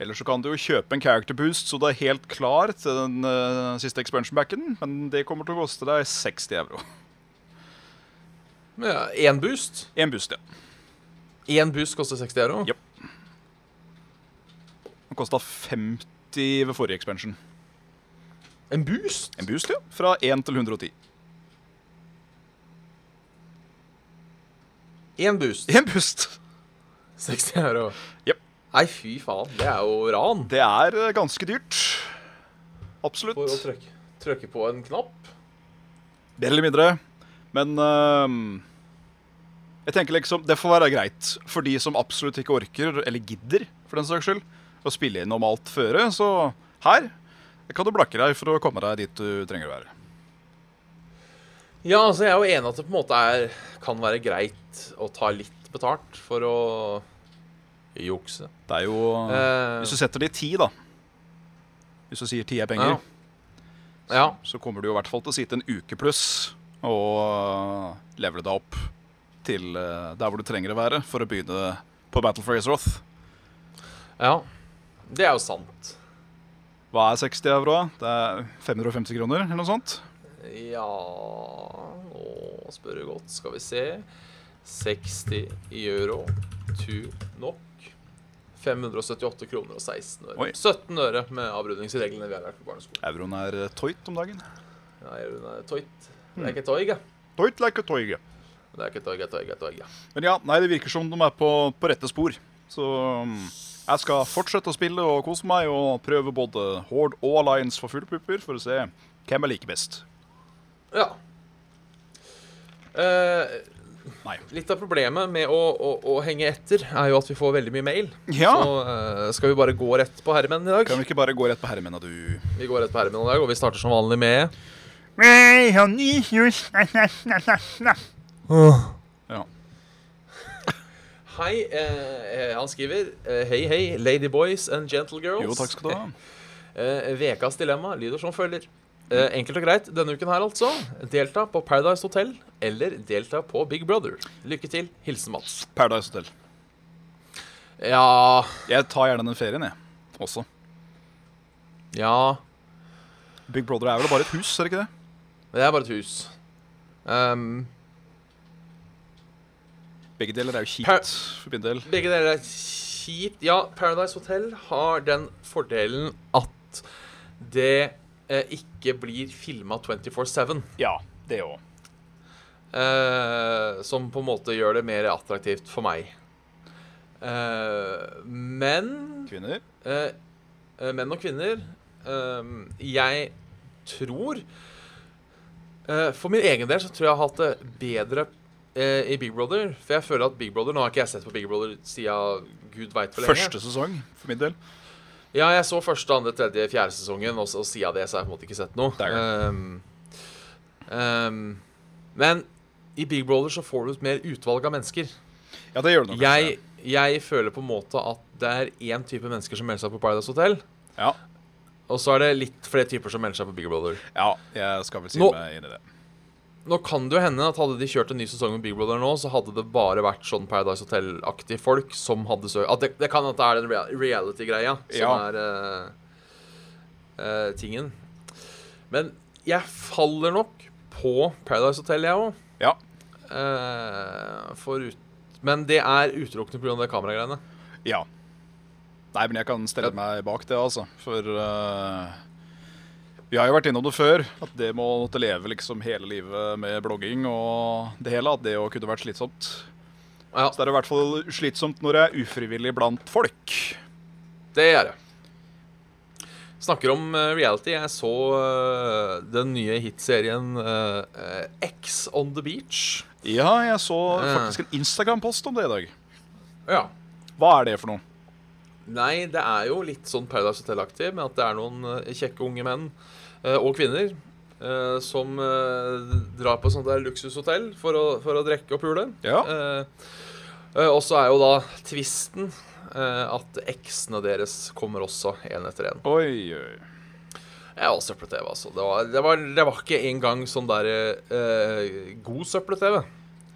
[SPEAKER 2] Eller så kan du jo kjøpe en character boost, så du er helt klar til den eh, siste expansion backen, men det kommer til å koste deg 60 euro.
[SPEAKER 1] Ja, Én boost?
[SPEAKER 2] Én boost, ja.
[SPEAKER 1] Én boost koster 60 euro?
[SPEAKER 2] Ja. Den kosta 50 ved forrige expansion.
[SPEAKER 1] En boost?
[SPEAKER 2] En boost, ja. Fra 1 til 110.
[SPEAKER 1] Én boost.
[SPEAKER 2] Én boost!
[SPEAKER 1] 60 euro.
[SPEAKER 2] Jep.
[SPEAKER 1] Nei, fy faen. Det er jo ran.
[SPEAKER 2] Det er eh, ganske dyrt. Absolutt.
[SPEAKER 1] For å trykke, trykke på en knapp.
[SPEAKER 2] Mer eller mindre. Men ehm, jeg tenker liksom, det får være greit for de som absolutt ikke orker, eller gidder, for den saks skyld, å spille inn om alt føre. Så her kan du blakke deg for å komme deg dit du trenger å være.
[SPEAKER 1] Ja, altså jeg er jo enig at det på en måte er, kan være greit å ta litt betalt for å jukse.
[SPEAKER 2] Det er jo
[SPEAKER 1] Eh,
[SPEAKER 2] Mm. Hvis du setter det i ti, da. Hvis du sier ti er penger,
[SPEAKER 1] ja. ja.
[SPEAKER 2] så kommer du jo i hvert fall til å sitte en uke pluss og eh, levele deg opp til eh, der hvor du trenger å være for å begynne på Battle for Azeroth.
[SPEAKER 1] Ja. Det er jo sant.
[SPEAKER 2] Hva er 60 euro? da? Det er 550 kroner eller noe sånt?
[SPEAKER 1] Ja Nå spør du godt. Skal vi se. 60 euro. Tu nok. 578 kroner og 16 øre.
[SPEAKER 2] Oi.
[SPEAKER 1] 17 øre med avrundingsreglene vi har lært på barneskolen.
[SPEAKER 2] Euroen er eh, toit om dagen.
[SPEAKER 1] Ja, Jørund er toit.
[SPEAKER 2] Mm.
[SPEAKER 1] Det er ikke toig, ja.
[SPEAKER 2] Toit like a toig.
[SPEAKER 1] Det er ikke toig, ja, toig, ja, toig, ja.
[SPEAKER 2] Men ja, nei, det virker som de er på, på rette spor. Så mm, jeg skal fortsette å spille og kose meg og prøve både Horde og Alliance for fulle pupper for å se hvem jeg liker best.
[SPEAKER 1] ja. Eh,
[SPEAKER 2] Nei.
[SPEAKER 1] litt av problemet med å, å, å henge etter er jo at vi får veldig mye mail.
[SPEAKER 2] Ja,
[SPEAKER 1] Så eh, skal vi bare gå rett på herremenn i dag.
[SPEAKER 2] kan vi ikke bare gå rett på herremennene, du?
[SPEAKER 1] Vi går rett på herremenn i dag, og vi starter som vanlig med
[SPEAKER 3] Hey, honey, you snap, snap, snap, snap, snap.
[SPEAKER 2] Ja.
[SPEAKER 1] Hei, eh, eh, han skriver eh, Hei, hei, ladyboys and gentle girls.
[SPEAKER 2] Jo, takk skal du ha.
[SPEAKER 1] Eh, Vekas dilemma lyder som følger. Eh, enkelt og greit denne uken her, altså. Delta på Paradise Hotel eller delta på Big Brother. Lykke til. Hilsen Mats.
[SPEAKER 2] Paradise Hotel.
[SPEAKER 1] Ja
[SPEAKER 2] Jeg tar gjerne den ferien, jeg. Også.
[SPEAKER 1] Ja.
[SPEAKER 2] Big Brother er vel bare et hus, er det ikke det?
[SPEAKER 1] Det er bare et hus. Ehm,
[SPEAKER 2] Begge deler er jo
[SPEAKER 1] Per-
[SPEAKER 2] kjipt for min del.
[SPEAKER 1] begge deler er kjipt. Ja, Paradise Hotel har den fordelen at det eh, ikke blir filma 24-7.
[SPEAKER 2] Ja, det òg.
[SPEAKER 1] Eh, som på en måte gjør det mer attraktivt for meg. Eh, men
[SPEAKER 2] Kvinner.
[SPEAKER 1] eh, eh, Menn og kvinner ehm, Jeg tror eh, For min egen del så tror jeg jeg har hatt det bedre eh, i Big Brother. For jeg føler at Big Brother Nå har ikke jeg sett på Big Brother siden gud veit hvor lenge.
[SPEAKER 2] Første sesong, for min del.
[SPEAKER 1] Ja, jeg så første, andre, tredje, fjerde sesongen, og, så- og siden det så har jeg på en måte ikke sett noe.
[SPEAKER 2] Det er det.
[SPEAKER 1] Ehm, ehm, men i Big Brother så får du et mer utvalg av mennesker.
[SPEAKER 2] Ja, det gjør du nok.
[SPEAKER 1] Jeg, Jeg føler på en måte at det er én type mennesker som melder seg på Paradise Hotel,
[SPEAKER 2] Ja,
[SPEAKER 1] og så er det litt flere typer som melder seg på Big Brother.
[SPEAKER 2] ja jeg skal vel si
[SPEAKER 1] Nå-
[SPEAKER 2] meg inn i det.
[SPEAKER 1] Nå kan det jo hende at hadde de kjørt en ny sesong med Big Brother nå, så hadde det bare vært sånn Paradise Hotel-aktige folk som hadde søkt at det, det kan at det er den rea- reality-greia som
[SPEAKER 2] Ja.
[SPEAKER 1] er eh, eh, tingen. Men jeg faller nok på Paradise Hotel, jeg òg.
[SPEAKER 2] Ja.
[SPEAKER 1] men det er utelukkende pga. det kameragreiene.
[SPEAKER 2] Ja. Nei, men jeg kan stelle meg bak det, altså. For eh, vi har jo vært innom det før. At det må måtte leve liksom hele livet med blogging og det hele. At det jo kunne vært slitsomt.
[SPEAKER 1] Ja,
[SPEAKER 2] Så det er i hvert fall slitsomt når jeg er ufrivillig blant folk.
[SPEAKER 1] det gjør jeg. Snakker om eh, reality. Jeg så eh, den nye hitserien eh, eh, X on the beach.
[SPEAKER 2] Ja, jeg så
[SPEAKER 1] Eh.
[SPEAKER 2] faktisk en Instagram-post om det i dag.
[SPEAKER 1] Ja.
[SPEAKER 2] Hva er det for noe?
[SPEAKER 1] Nei, det er jo litt sånn Paradise Hotel-aktig, med at det er noen eh, kjekke unge menn eh, og kvinner eh, som eh, drar på sånt der luksushotell for å, for å drikke og pule.
[SPEAKER 2] Ja.
[SPEAKER 1] Eh, eh, og så er jo da tvisten eh, at eksene deres kommer også, én etter én.
[SPEAKER 2] Oi, oi.
[SPEAKER 1] Jeg var søppel-TV, altså. Det var, det, var, det var ikke engang sånn der eh, god søppel-TV.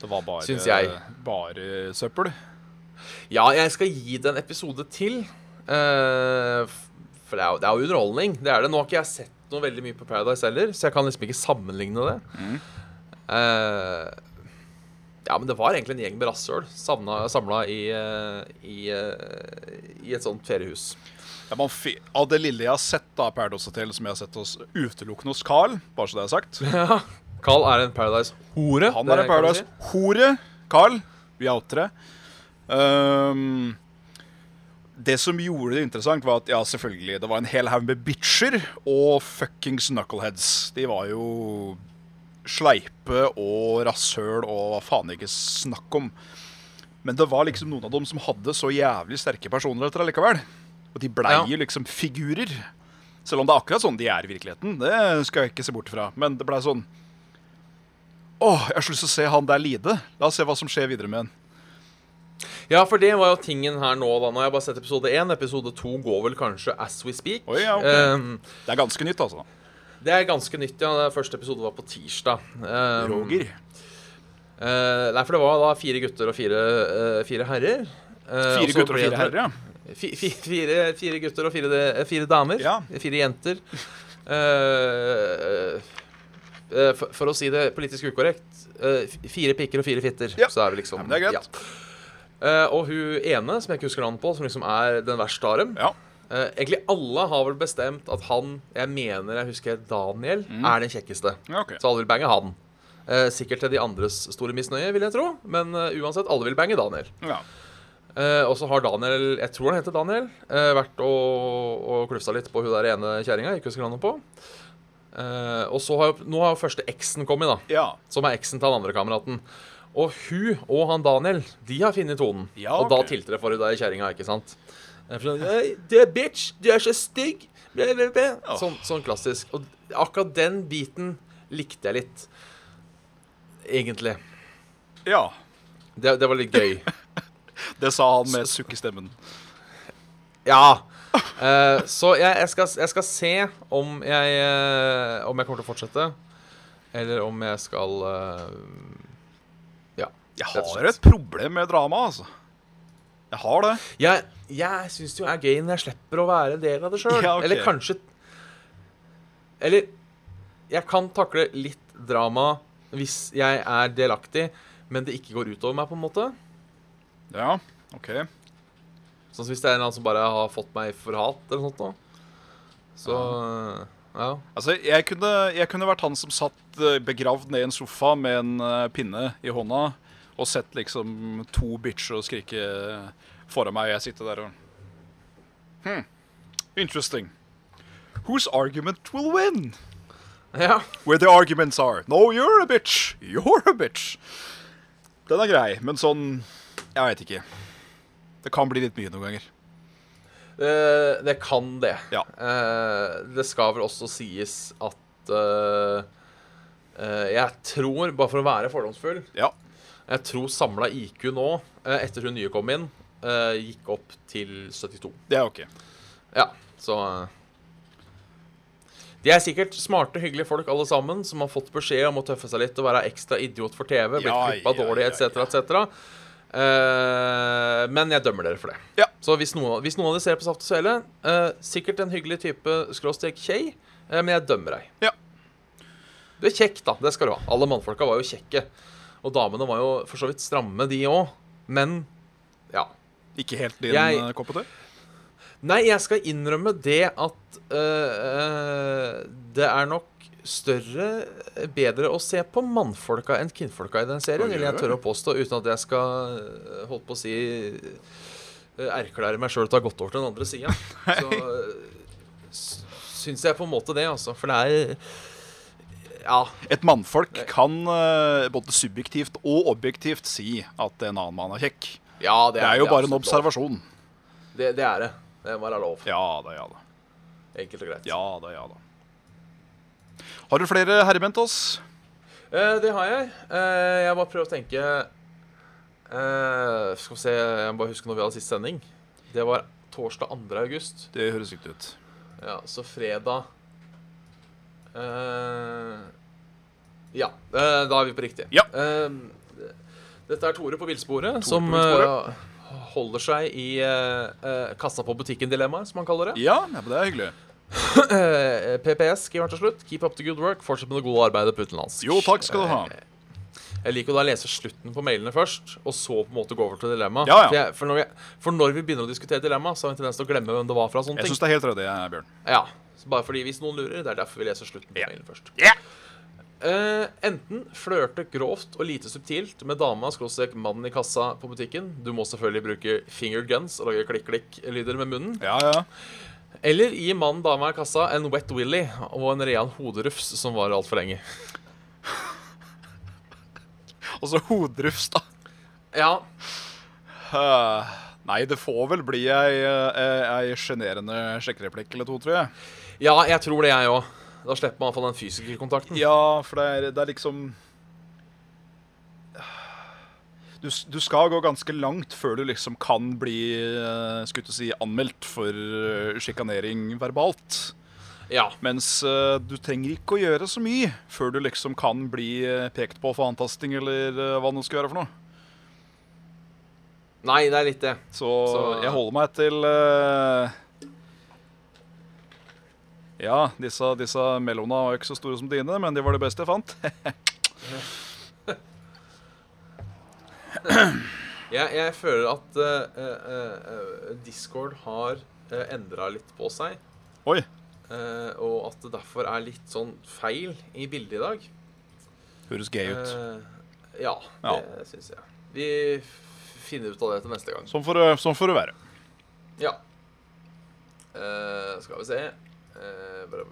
[SPEAKER 2] Det var bare,
[SPEAKER 1] Syns jeg.
[SPEAKER 2] bare søppel.
[SPEAKER 1] Ja, jeg skal gi det en episode til. eh, f- for det er, jo, det er jo underholdning. Det er det. Nå har ikke jeg sett noe veldig mye på Paradise heller, så jeg kan liksom ikke sammenligne det.
[SPEAKER 2] Mm.
[SPEAKER 1] Eh, ja, men det var egentlig en gjeng med rasshøl savna- samla i, eh, i, eh, i et sånt feriehus.
[SPEAKER 2] Ja, man fi av det lille jeg har sett av Paradise Hotel, som jeg har sett hos, utelukkende hos Carl, bare så det er sagt
[SPEAKER 1] Carl er en Paradise-hore.
[SPEAKER 2] Han
[SPEAKER 1] det
[SPEAKER 2] er en
[SPEAKER 1] kan vi si.
[SPEAKER 2] Paradise-hore. Carl, vi outere. Um, det som gjorde det interessant, var at ja, selvfølgelig, det var en hel haug med bitcher og fuckings knuckleheads. De var jo sleipe og rasshøl og hva faen ikke snakk om. Men det var liksom noen av dem som hadde så jævlig sterke personligheter allikevel. Og de blei
[SPEAKER 1] Ja.
[SPEAKER 2] jo liksom figurer. Selv om det er akkurat sånn de er i virkeligheten. Det skal jeg ikke se bort fra. Men det blei sånn Åh, jeg har så lyst til å se han der lide. La oss se hva som skjer videre med han.
[SPEAKER 1] Ja, for det var jo tingen her nå, da. Nå har jeg bare sett episode én. Episode to går vel kanskje as we speak.
[SPEAKER 2] Oi, ja, ok.
[SPEAKER 1] Eh,
[SPEAKER 2] Det er ganske nytt, altså.
[SPEAKER 1] Det er ganske nytt, ja. Det Første episode var på tirsdag.
[SPEAKER 2] Mm.
[SPEAKER 1] Um, eh, nei, for det var da fire gutter og fire, eh, fire herrer. Eh, og
[SPEAKER 2] Fire
[SPEAKER 1] så
[SPEAKER 2] gutter og
[SPEAKER 1] ble
[SPEAKER 2] fire
[SPEAKER 1] det-
[SPEAKER 2] herrer, ja.
[SPEAKER 1] Fi, fi, fire, fire gutter og fire, de- fire damer.
[SPEAKER 2] Ja.
[SPEAKER 1] Fire jenter. Eh, eh, for, for å si det politisk ukorrekt eh, f- fire pikker og fire fitter.
[SPEAKER 2] Ja.
[SPEAKER 1] Så er det liksom
[SPEAKER 2] Ja, men det er greit.
[SPEAKER 1] ja. Eh, og hun ene, som jeg ikke husker navnet på, som liksom er den verste av dem,
[SPEAKER 2] Ja.
[SPEAKER 1] Eh, egentlig alle har vel bestemt at han jeg mener jeg husker het Daniel,
[SPEAKER 2] Mm.
[SPEAKER 1] er den kjekkeste.
[SPEAKER 2] ja ok.
[SPEAKER 1] Så alle vil bange han. Eh, sikkert til de andres store misnøye, vil jeg tro. Men eh, uansett, alle vil bange Daniel.
[SPEAKER 2] Ja.
[SPEAKER 1] Eh, og så har Daniel, jeg tror han heter Daniel, eh, vært og, og klufsa litt på hun der ene kjerringa. jeg Ikke husker navnet på. Eh, og så har jo, nå har jo første eksen kommet, da.
[SPEAKER 2] ja.
[SPEAKER 1] Som er eksen til han andre kameraten. Og hun og han Daniel, de har funnet tonen.
[SPEAKER 2] Ja,
[SPEAKER 1] Og da
[SPEAKER 2] ok.
[SPEAKER 1] tilter det for hun der kjerringa, ikke sant? Eh, for sånn, «Ei, Du er bitch! Du er så stygg! Blæ, blæ, blæ.
[SPEAKER 2] Åh.
[SPEAKER 1] Sånn, sånn klassisk. Og akkurat den biten likte jeg litt. Egentlig.
[SPEAKER 2] ja.
[SPEAKER 1] Det, det var litt gøy.
[SPEAKER 2] Det sa han med et sukk i stemmen.
[SPEAKER 1] Ja. Eh, så jeg, jeg, skal, jeg skal se om jeg, eh, om jeg kommer til å fortsette, eller om jeg skal eh, Ja.
[SPEAKER 2] Jeg
[SPEAKER 1] rett og
[SPEAKER 2] har
[SPEAKER 1] slett.
[SPEAKER 2] et problem med drama, altså. Jeg har det.
[SPEAKER 1] Jeg, jeg syns det jo er gøy når jeg slipper å være en del av det sjøl.
[SPEAKER 2] Ja, ok.
[SPEAKER 1] Eller kanskje Eller jeg kan takle litt drama hvis jeg er delaktig, men det ikke går utover meg, på en måte.
[SPEAKER 2] Ja, OK.
[SPEAKER 1] Sånn som hvis det er en eller annen som bare har fått meg for hat, eller noe sånt nå. Så ja.
[SPEAKER 2] Altså, jeg kunne, jeg kunne vært han som satt eh, begravd ned i en sofa med en eh, pinne i hånda og sett liksom to bitcher og skrike foran meg, og jeg sitter der og hmm. Interesting. Whose argument will win?
[SPEAKER 1] ja.
[SPEAKER 2] Where the arguments are. No, you're a bitch. You're a bitch. Den er grei, men sånn Jeg veit ikke. Det kan bli litt mye noen ganger.
[SPEAKER 1] Eh, det kan det.
[SPEAKER 2] Ja.
[SPEAKER 1] Eh, det skal vel også sies at eh, eh, Jeg tror, bare for å være fordomsfull
[SPEAKER 2] Ja.
[SPEAKER 1] Jeg tror samla IQ nå, eh, etter hun nye kom inn, eh, gikk opp til 72.
[SPEAKER 2] Det er ok.
[SPEAKER 1] Ja, så eh, De er sikkert smarte, hyggelige folk alle sammen som har fått beskjed om å tøffe seg litt og være ekstra idiot for TV, blitt
[SPEAKER 2] Ja,
[SPEAKER 1] klippa
[SPEAKER 2] ja,
[SPEAKER 1] dårlig
[SPEAKER 2] ja,
[SPEAKER 1] etc.,
[SPEAKER 2] ja.
[SPEAKER 1] etc. Eh, men jeg dømmer dere for det.
[SPEAKER 2] Ja.
[SPEAKER 1] Så hvis noen, hvis noen av dere ser på Saft og Svele, eh, sikkert en hyggelig type skråstrek kjei, eh, men jeg dømmer deg.
[SPEAKER 2] Ja.
[SPEAKER 1] Du er kjekk, da. Det skal du ha. Alle mannfolka var jo kjekke. Og damene var jo for så vidt stramme, de òg. Men ja.
[SPEAKER 2] Ikke helt din
[SPEAKER 1] Jeg-
[SPEAKER 2] eh, kopp og te?
[SPEAKER 1] Nei, jeg skal innrømme det at øh, øh, det er nok større, bedre å se på mannfolka enn kvinnfolka i den serien,
[SPEAKER 2] Oi,
[SPEAKER 1] vil jeg
[SPEAKER 2] oi.
[SPEAKER 1] tørre å påstå, uten at jeg skal øh, holdt på å si øh, erklære meg sjøl til å ha gått over til den andre sida. Så øh, s- syns jeg på en måte det, altså. For det er Ja.
[SPEAKER 2] Et mannfolk kan eh, både subjektivt og objektivt si at en annen mann er kjekk.
[SPEAKER 1] ja
[SPEAKER 2] Det er jo bare en
[SPEAKER 1] absolutt lov.
[SPEAKER 2] observasjon.
[SPEAKER 1] Det, det er det. Det må være lov.
[SPEAKER 2] Ja da, ja da.
[SPEAKER 1] Enkelt og greit.
[SPEAKER 2] Ja da, ja da. Har du flere herremenn til oss?
[SPEAKER 1] Eh, det har jeg. Eh, jeg bare prøver å tenke eh, Skal vi se, jeg må bare huske når vi hadde sist sending. Det var torsdag 2. august.
[SPEAKER 2] Det høres riktig ut.
[SPEAKER 1] Ja, så fredag eh, Ja, eh, da er vi på riktig.
[SPEAKER 2] Ja.
[SPEAKER 1] Eh, dette er Tore på villsporet,
[SPEAKER 2] på
[SPEAKER 1] som
[SPEAKER 2] villsporet.
[SPEAKER 1] eh, holder seg i eh, eh, kassa på butikken-dilemmaet, som han kaller det.
[SPEAKER 2] Ja, ja, men det er hyggelig.
[SPEAKER 1] Eh, PPS skriver til slutt. Keep up the good work. Fortsett med det gode arbeidet på utenlandsk.
[SPEAKER 2] Jo, takk skal du ha.
[SPEAKER 1] Jeg liker jo da å lese slutten på mailene først, og så på en måte gå over til dilemma.
[SPEAKER 2] Ja, ja.
[SPEAKER 1] For, jeg, for, når vi- for når vi begynner å diskutere dilemma, så har vi en tendens til å glemme hvem det var fra. og sånne
[SPEAKER 2] Jeg
[SPEAKER 1] ting.
[SPEAKER 2] syns det er helt ryddig, jeg, Bjørn.
[SPEAKER 1] Ja, så Bare fordi hvis noen lurer. Det er derfor vi leser slutten på mailen først.
[SPEAKER 2] Ja.
[SPEAKER 1] Eh, enten flørte grovt og lite subtilt med dama skråstrek mannen i kassa på butikken. Du må selvfølgelig bruke finger guns og lage klikk-klikk-lyder med munnen.
[SPEAKER 2] Ja, ja.
[SPEAKER 1] Eller gi mannen dama i kassa en wet willy og en real hoderufs som varer altfor lenge.
[SPEAKER 2] Og så hoderufs, da.
[SPEAKER 1] Ja,
[SPEAKER 2] Eh, Nei, det får vel bli ei eh, ei sjenerende sjekkereplikk eller to, tror jeg.
[SPEAKER 1] ja jeg tror det, jeg òg. Da slipper man iallfall den fysikerkontakten.
[SPEAKER 2] Ja, for det er, det er liksom du, s- du skal gå ganske langt før du liksom kan bli eh, skulle til å si, anmeldt for eh, sjikanering verbalt.
[SPEAKER 1] Ja.
[SPEAKER 2] Mens eh, du trenger ikke å gjøre så mye før du liksom kan bli eh, pekt på for antasting eller eh, hva det nå skal være for noe.
[SPEAKER 1] Nei, det er litt det.
[SPEAKER 2] Så,
[SPEAKER 1] Så-
[SPEAKER 2] jeg holder meg til eh, Ja, disse, disse mellomna var ikke så store som dine, men de var det beste jeg fant.
[SPEAKER 1] Jeg, jeg føler at eh, eh, eh, Discord har uh, endra litt på seg.
[SPEAKER 2] Oi.
[SPEAKER 1] eh, og at det derfor er litt sånn feil i bildet i dag.
[SPEAKER 2] Høres gøy ut.
[SPEAKER 1] Eh, ja,
[SPEAKER 2] Ja.
[SPEAKER 1] det syns jeg. Vi f- finner ut av det til neste gang.
[SPEAKER 2] Sånn får det- sånn får det være.
[SPEAKER 1] Ja. Eh, skal vi se Eh, bare,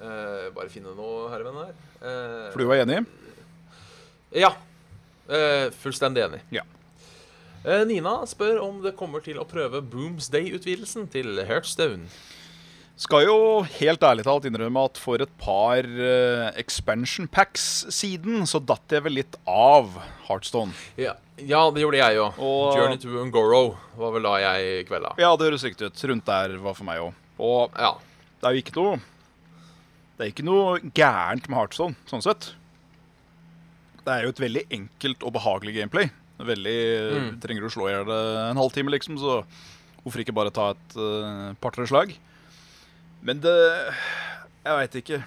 [SPEAKER 1] Eh, bare finne noe herrevenn her. Eh,
[SPEAKER 2] For du var enig?
[SPEAKER 1] Ja. Eh, fullstendig enig.
[SPEAKER 2] Ja.
[SPEAKER 1] Eh, Nina spør om det kommer til å prøve Boomsday-utvidelsen til Hearthstone.
[SPEAKER 2] Skal jo helt ærlig talt innrømme at for et par eh, expansion packs siden, så datt jeg vel litt av Heartstone.
[SPEAKER 1] Ja, ja det gjorde jeg òg.
[SPEAKER 2] Og-
[SPEAKER 1] Journey to Ungoro var vel da jeg kvelda.
[SPEAKER 2] Ja, det høres riktig ut. Rundt der var for meg òg. Og
[SPEAKER 1] Ja.
[SPEAKER 2] det er jo ikke noe Det er ikke noe gærent med Heartstone, sånn sett. Det er jo et veldig enkelt og behagelig gameplay. Veldig
[SPEAKER 1] Mm.
[SPEAKER 2] Trenger du slå i hjel en halvtime, liksom, så hvorfor ikke bare ta et eh, par-tre slag? Men det Jeg veit ikke.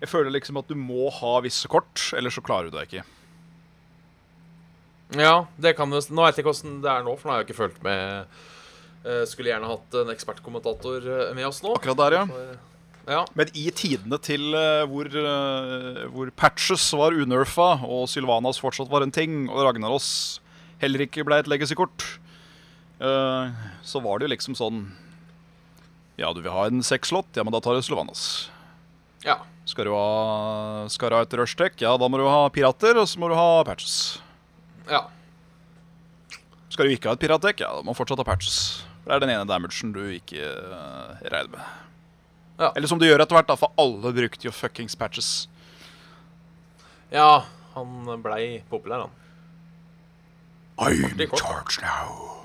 [SPEAKER 2] Jeg føler liksom at du må ha visse kort, ellers så klarer du deg ikke.
[SPEAKER 1] Ja, det kan jo Nå vet jeg ikke åssen det er nå, for nå har jeg jo ikke fulgt med. Eh, skulle gjerne hatt en ekspertkommentator eh, med oss nå.
[SPEAKER 2] Akkurat der, ja.
[SPEAKER 1] For- Ja.
[SPEAKER 2] Men i tidene til eh, hvor, eh, hvor Patches var unerfa, og Sylvanas fortsatt var en ting, og Ragnaros heller ikke ble et legacy-kort, eh, så var det jo liksom sånn Ja, du vil ha en sexslott? Ja, men da tar du Sylvanas.
[SPEAKER 1] ja.
[SPEAKER 2] Skal du ha, skal du ha et rushtech? Ja, da må du ha pirater, og så må du ha patches.
[SPEAKER 1] Ja.
[SPEAKER 2] Skal du ikke ha et piratdekk? Ja, da må du fortsatt ha patches. Det er den ene damagen du ikke eh, regner med.
[SPEAKER 1] Ja.
[SPEAKER 2] Eller som du gjør etter hvert, da, for alle brukte jo fuckings patches.
[SPEAKER 1] ja. Han blei populær, han.
[SPEAKER 2] I'm
[SPEAKER 1] kort.
[SPEAKER 2] charged now.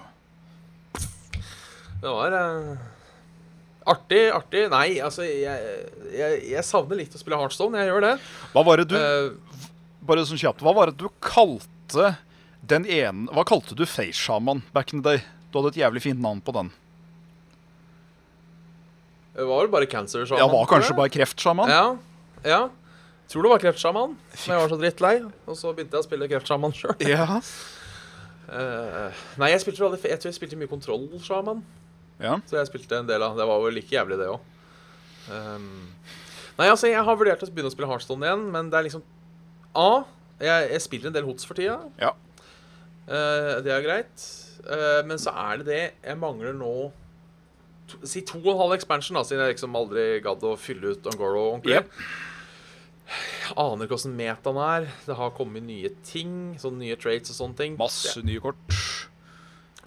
[SPEAKER 1] Det var eh, artig, artig. Nei, altså, jeg, jeg, jeg savner litt å spille Heartstone. Jeg gjør det.
[SPEAKER 2] Hva var det du
[SPEAKER 1] Eh,
[SPEAKER 2] Bare sånn kjapt, hva var det du kalte den ene Hva kalte du Face Shaman back in the day? Du hadde et jævlig fint navn på den.
[SPEAKER 1] det var vel bare cancer shaman.
[SPEAKER 2] Ja, var
[SPEAKER 1] tror
[SPEAKER 2] kanskje
[SPEAKER 1] jeg.
[SPEAKER 2] bare kreftsjaman?
[SPEAKER 1] Ja. ja. Tror det var kreftsjaman. Men jeg var så drittlei, og så begynte jeg å spille kreftsjaman sjøl.
[SPEAKER 2] Ja.
[SPEAKER 1] nei, jeg spilte vel aldri Jeg tror jeg spilte mye kontrollsjaman.
[SPEAKER 2] ja.
[SPEAKER 1] Så jeg spilte en del av Det var vel like jævlig, det òg. nei, altså, jeg har vurdert å begynne å spille Heartstone igjen, men det er liksom A. Jeg, jeg spiller en del hots for tida.
[SPEAKER 2] Ja.
[SPEAKER 1] Eh, det er greit. Eh, men så er det det Jeg mangler nå to, Si to og en halv expansion, da, siden jeg liksom aldri gadd å fylle ut Angoro ordentlig.
[SPEAKER 2] Jep.
[SPEAKER 1] Jeg aner ikke åssen metaen er. Det har kommet nye ting. Sånne nye traits og sånne ting.
[SPEAKER 2] Masse nye kort.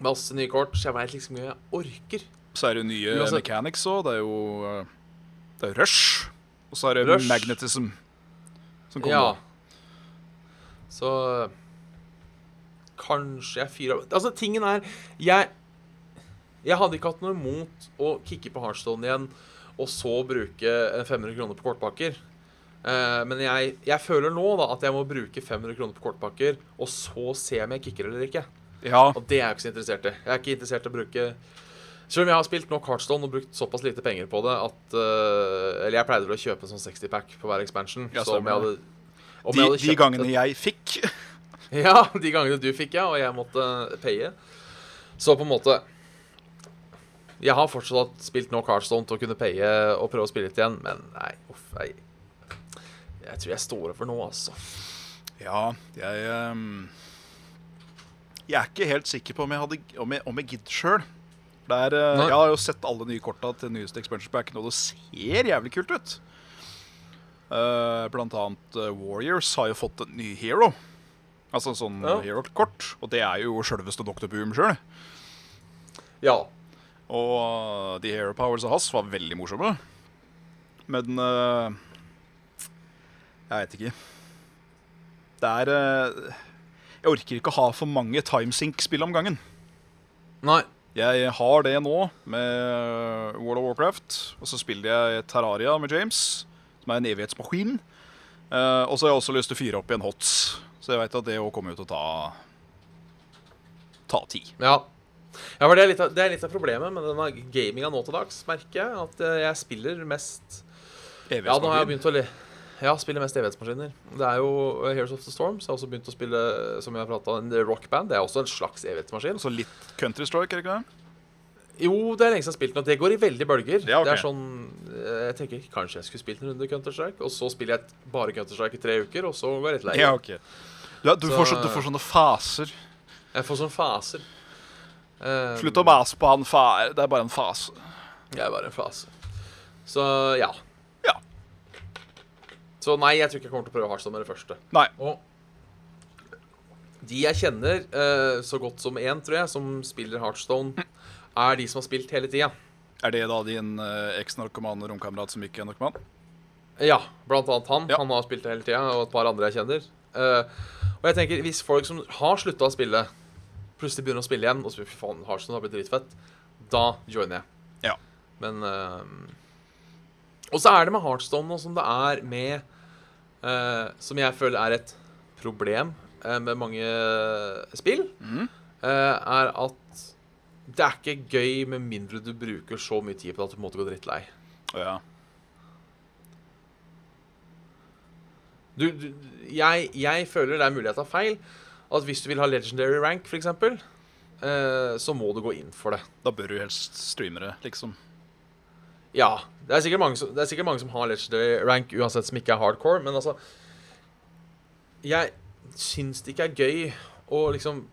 [SPEAKER 1] Masse nye kort. Så jeg veit liksom ikke om jeg orker.
[SPEAKER 2] Så er det jo nye
[SPEAKER 1] Uansett.
[SPEAKER 2] mechanics òg. Det er jo eh, Det er Rush. Og så er det
[SPEAKER 1] Rush.
[SPEAKER 2] Magnetism. Som kommer.
[SPEAKER 1] Ja. Så Kanskje jeg fyrer av Altså, tingen er Jeg Jeg hadde ikke hatt noe imot å kicke på Heartstone igjen og så bruke eh, 500 kroner på kortpakker. Eh, men jeg, jeg føler nå da at jeg må bruke 500 kroner på kortpakker, og så se om jeg kicker eller ikke.
[SPEAKER 2] Ja.
[SPEAKER 1] Og det er jeg ikke så interessert i. Jeg er ikke interessert i å bruke Selv om jeg har spilt nok Heartstone og brukt såpass lite penger på det at eh, Eller jeg pleide vel å kjøpe en sånn 60-pack på hver expansion.
[SPEAKER 2] Ja,
[SPEAKER 1] så om jeg
[SPEAKER 2] stemmer
[SPEAKER 1] hadde,
[SPEAKER 2] det.
[SPEAKER 1] om
[SPEAKER 2] De,
[SPEAKER 1] jeg hadde
[SPEAKER 2] de
[SPEAKER 1] kjøpt
[SPEAKER 2] gangene
[SPEAKER 1] et-
[SPEAKER 2] jeg fikk
[SPEAKER 1] Ja, de gangene du fikk, ja, og jeg måtte paye. Så på en måte Jeg har fortsatt spilt nok Heartstone til å kunne paye og prøve å spille litt igjen, men nei, uff, jeg, jeg tror jeg står over nå, altså.
[SPEAKER 2] Ja, jeg ehm, Jeg er ikke helt sikker på om jeg, hadde, om jeg, om jeg gidder sjøl. eh, Jeg
[SPEAKER 1] Nei.
[SPEAKER 2] har jo sett alle nye korta til nyeste expansion packen, og det ser jævlig kult ut. Eh, blant annet eh, Warriors har jo fått en ny hero. Altså en sånn
[SPEAKER 1] Ja.
[SPEAKER 2] eh, hero-kort. Og det er jo sjølveste Dr. Boom sjøl.
[SPEAKER 1] Ja.
[SPEAKER 2] Og eh, de hero powers hans var veldig morsomme. Men eh, Jeg veit ikke. Det er eh, Jeg orker ikke å ha for mange timesink-spill om gangen.
[SPEAKER 1] Nei.
[SPEAKER 2] Jeg har det nå med World of Warcraft. Og så spiller jeg Terraria med James, som er en evighetsmaskin. Eh, og så har jeg også lyst til å fyre opp igjen Hots, så jeg veit at det òg kommer jo til å ta Ta tid.
[SPEAKER 1] Ja. ja for det, er litt av, det er litt av problemet med denne gaminga nå til dags, merker jeg. At eh, jeg spiller mest Ja, nå har jeg begynt å le. Ja, spille mest evighetsmaskiner. Det er jo eh, Heroes of the Storm. Så jeg har også begynt å spille, eh, som jeg pratet om, en rockband. Det er også en slags evighetsmaskin.
[SPEAKER 2] Så litt Counter-Strike, er det ikke det?
[SPEAKER 1] Jo, det er lenge siden jeg har spilt noe. Det går i veldig bølger.
[SPEAKER 2] Ja, ok.
[SPEAKER 1] Det er sånn eh, Jeg tenker kanskje jeg skulle spilt en runde Counter-Strike, og så spiller jeg bare Counter-Strike i tre uker, og så går jeg litt lei.
[SPEAKER 2] Ja, ok. Ja, du,
[SPEAKER 1] Så-
[SPEAKER 2] får så, du får sånne faser.
[SPEAKER 1] Jeg får sånne faser. Eh,
[SPEAKER 2] Slutt å mase på han far. Det er bare en fase.
[SPEAKER 1] Jeg er bare en fase. Så ja.
[SPEAKER 2] Ja.
[SPEAKER 1] Så nei, jeg tror ikke jeg kommer til å prøve Hearthstone med det første.
[SPEAKER 2] Nei.
[SPEAKER 1] Og de jeg kjenner, eh, så godt som én, tror jeg, som spiller Hearthstone, er de som har spilt hele tida.
[SPEAKER 2] Er det da din eh, eks-narkomane romkamerat som ikke er narkoman?
[SPEAKER 1] Ja, blant annet han.
[SPEAKER 2] Ja.
[SPEAKER 1] Han har spilt det hele tida, og et par andre jeg kjenner. Eh, og jeg tenker, hvis folk som har slutta å spille, plutselig begynner å spille igjen, og så fy faen, Hearthstone har blitt dritfett, da joiner jeg.
[SPEAKER 2] Ja.
[SPEAKER 1] Men eh, Og så er det med Heartstone nå som det er med eh, Som jeg føler er et problem eh, med mange spill,
[SPEAKER 2] Mm.
[SPEAKER 1] eh, er at det er ikke gøy med mindre du bruker så mye tid på det at du på en måte går drittlei.
[SPEAKER 2] Å ja.
[SPEAKER 1] Du, du, jeg, jeg føler det er mulig jeg tar feil. At hvis du vil ha legendary rank, f.eks., eh, så må du gå inn for det.
[SPEAKER 2] Da bør du helst streame det, liksom.
[SPEAKER 1] Ja. Det er, sikkert mange som, det er sikkert mange som har legendary rank uansett som ikke er hardcore, men altså Jeg syns det ikke er gøy å liksom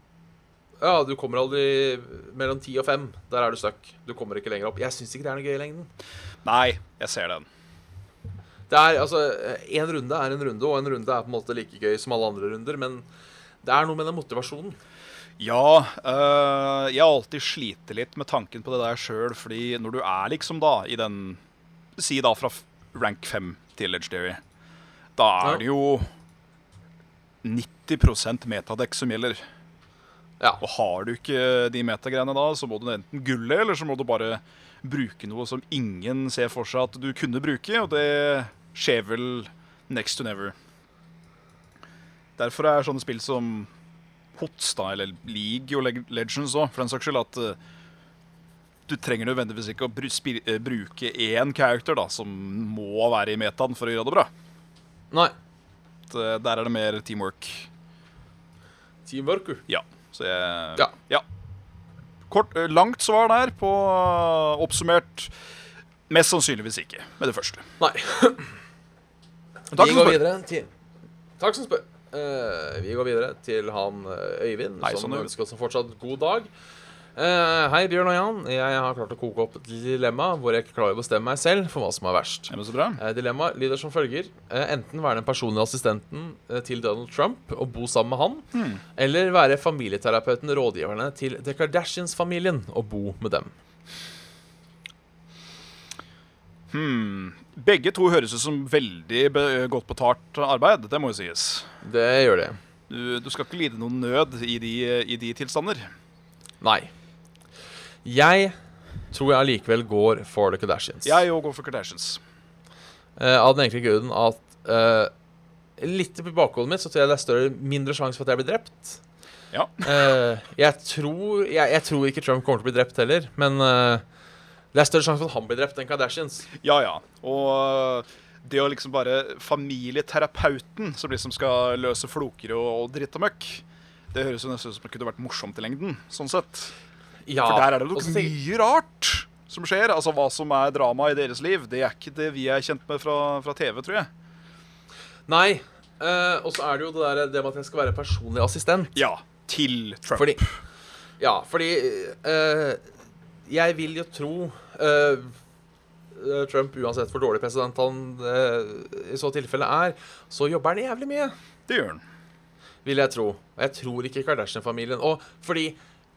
[SPEAKER 1] Ja, du kommer aldri mellom ti og fem. Der er du stuck. Du kommer ikke lenger opp. Jeg syns ikke det er noe gøy i lengden.
[SPEAKER 2] Nei, jeg ser den.
[SPEAKER 1] Det er altså En runde er en runde, og en runde er på en måte like gøy som alle andre runder, men det er noe med den motivasjonen.
[SPEAKER 2] Ja, eh, jeg har alltid slitt litt med tanken på det der sjøl, fordi når du er liksom da i den Si da fra f- rank 5 til legendary, da er
[SPEAKER 1] Ja.
[SPEAKER 2] det jo 90 metadekk som gjelder.
[SPEAKER 1] Ja.
[SPEAKER 2] Og har du ikke de metagreiene da, så må du enten gulle, eller så må du bare bruke noe som ingen ser for seg at du kunne bruke, og det skjer vel next to never. Derfor er sånne spill som HOTS, da, eller League og Leg- Legends òg, for den saks skyld, at eh, du trenger nødvendigvis ikke å bru- spil- eh, bruke én character da, som må være i metaen for å gjøre det bra.
[SPEAKER 1] Nei.
[SPEAKER 2] At, eh, Der er det mer teamwork.
[SPEAKER 1] Team Worker.
[SPEAKER 2] Ja. Så jeg
[SPEAKER 1] Ja.
[SPEAKER 2] Kort, eh, langt svar der på eh, oppsummert Mest sannsynligvis ikke, med det første.
[SPEAKER 1] Nei.
[SPEAKER 2] Takk
[SPEAKER 1] vi
[SPEAKER 2] som
[SPEAKER 1] går
[SPEAKER 2] spør.
[SPEAKER 1] videre til Takk som spør. Eh, vi går videre til han eh, Øyvind,
[SPEAKER 2] Hei, sann,
[SPEAKER 1] som
[SPEAKER 2] Øyvind.
[SPEAKER 1] ønsker oss en fortsatt god dag. Eh, hei, Bjørn og Jan. Jeg har klart å koke opp et dilemma hvor jeg ikke klarer å bestemme meg selv for hva som er verst.
[SPEAKER 2] Ja, men så bra.
[SPEAKER 1] Eh, Dilemmaet lyder som følger. Eh, Enten være den personlige assistenten eh, til Donald Trump og bo sammen med han,
[SPEAKER 2] Hmm.
[SPEAKER 1] eller være familieterapeuten, rådgiverne til The Kardashians-familien og bo med dem.
[SPEAKER 2] Hmm. Begge to høres ut som veldig be godt betalt arbeid, det må jo sies.
[SPEAKER 1] Det gjør de.
[SPEAKER 2] Du, du skal ikke lide noen nød i de, i de tilstander.
[SPEAKER 1] Nei. Jeg tror jeg allikevel går for The Kardashians.
[SPEAKER 2] Jeg òg går for Kardashians.
[SPEAKER 1] Eh, av den enkle grunnen at eh, Litt i bakhodet mitt så tror jeg det er større, mindre sjanse for at jeg blir drept.
[SPEAKER 2] Ja.
[SPEAKER 1] Eh, jeg, tror, jeg, jeg tror ikke Trump kommer til å bli drept heller, men eh, det er større sjanse for at han blir drept enn Kardashians.
[SPEAKER 2] Ja, ja. Og det å liksom bare Familieterapeuten som liksom skal løse floker og, og dritt og møkk, det høres jo nesten ut som det kunne vært morsomt i lengden, sånn sett.
[SPEAKER 1] Ja,
[SPEAKER 2] For der er det
[SPEAKER 1] og
[SPEAKER 2] nok
[SPEAKER 1] så tenker-
[SPEAKER 2] mye rart som skjer. Altså hva som er drama i deres liv, det er ikke det vi er kjent med fra, fra TV, tror jeg.
[SPEAKER 1] Nei. eh, og så er det jo det der det med at jeg skal være personlig assistent.
[SPEAKER 2] Ja. Til Trump.
[SPEAKER 1] Fordi Ja, fordi eh, Jeg vil jo tro eh, eh, Trump, uansett hvor dårlig president han eh, i så tilfelle er, så jobber han jævlig mye,
[SPEAKER 2] Det gjør han.
[SPEAKER 1] vil jeg tro. Og jeg tror ikke Kardashian-familien Og fordi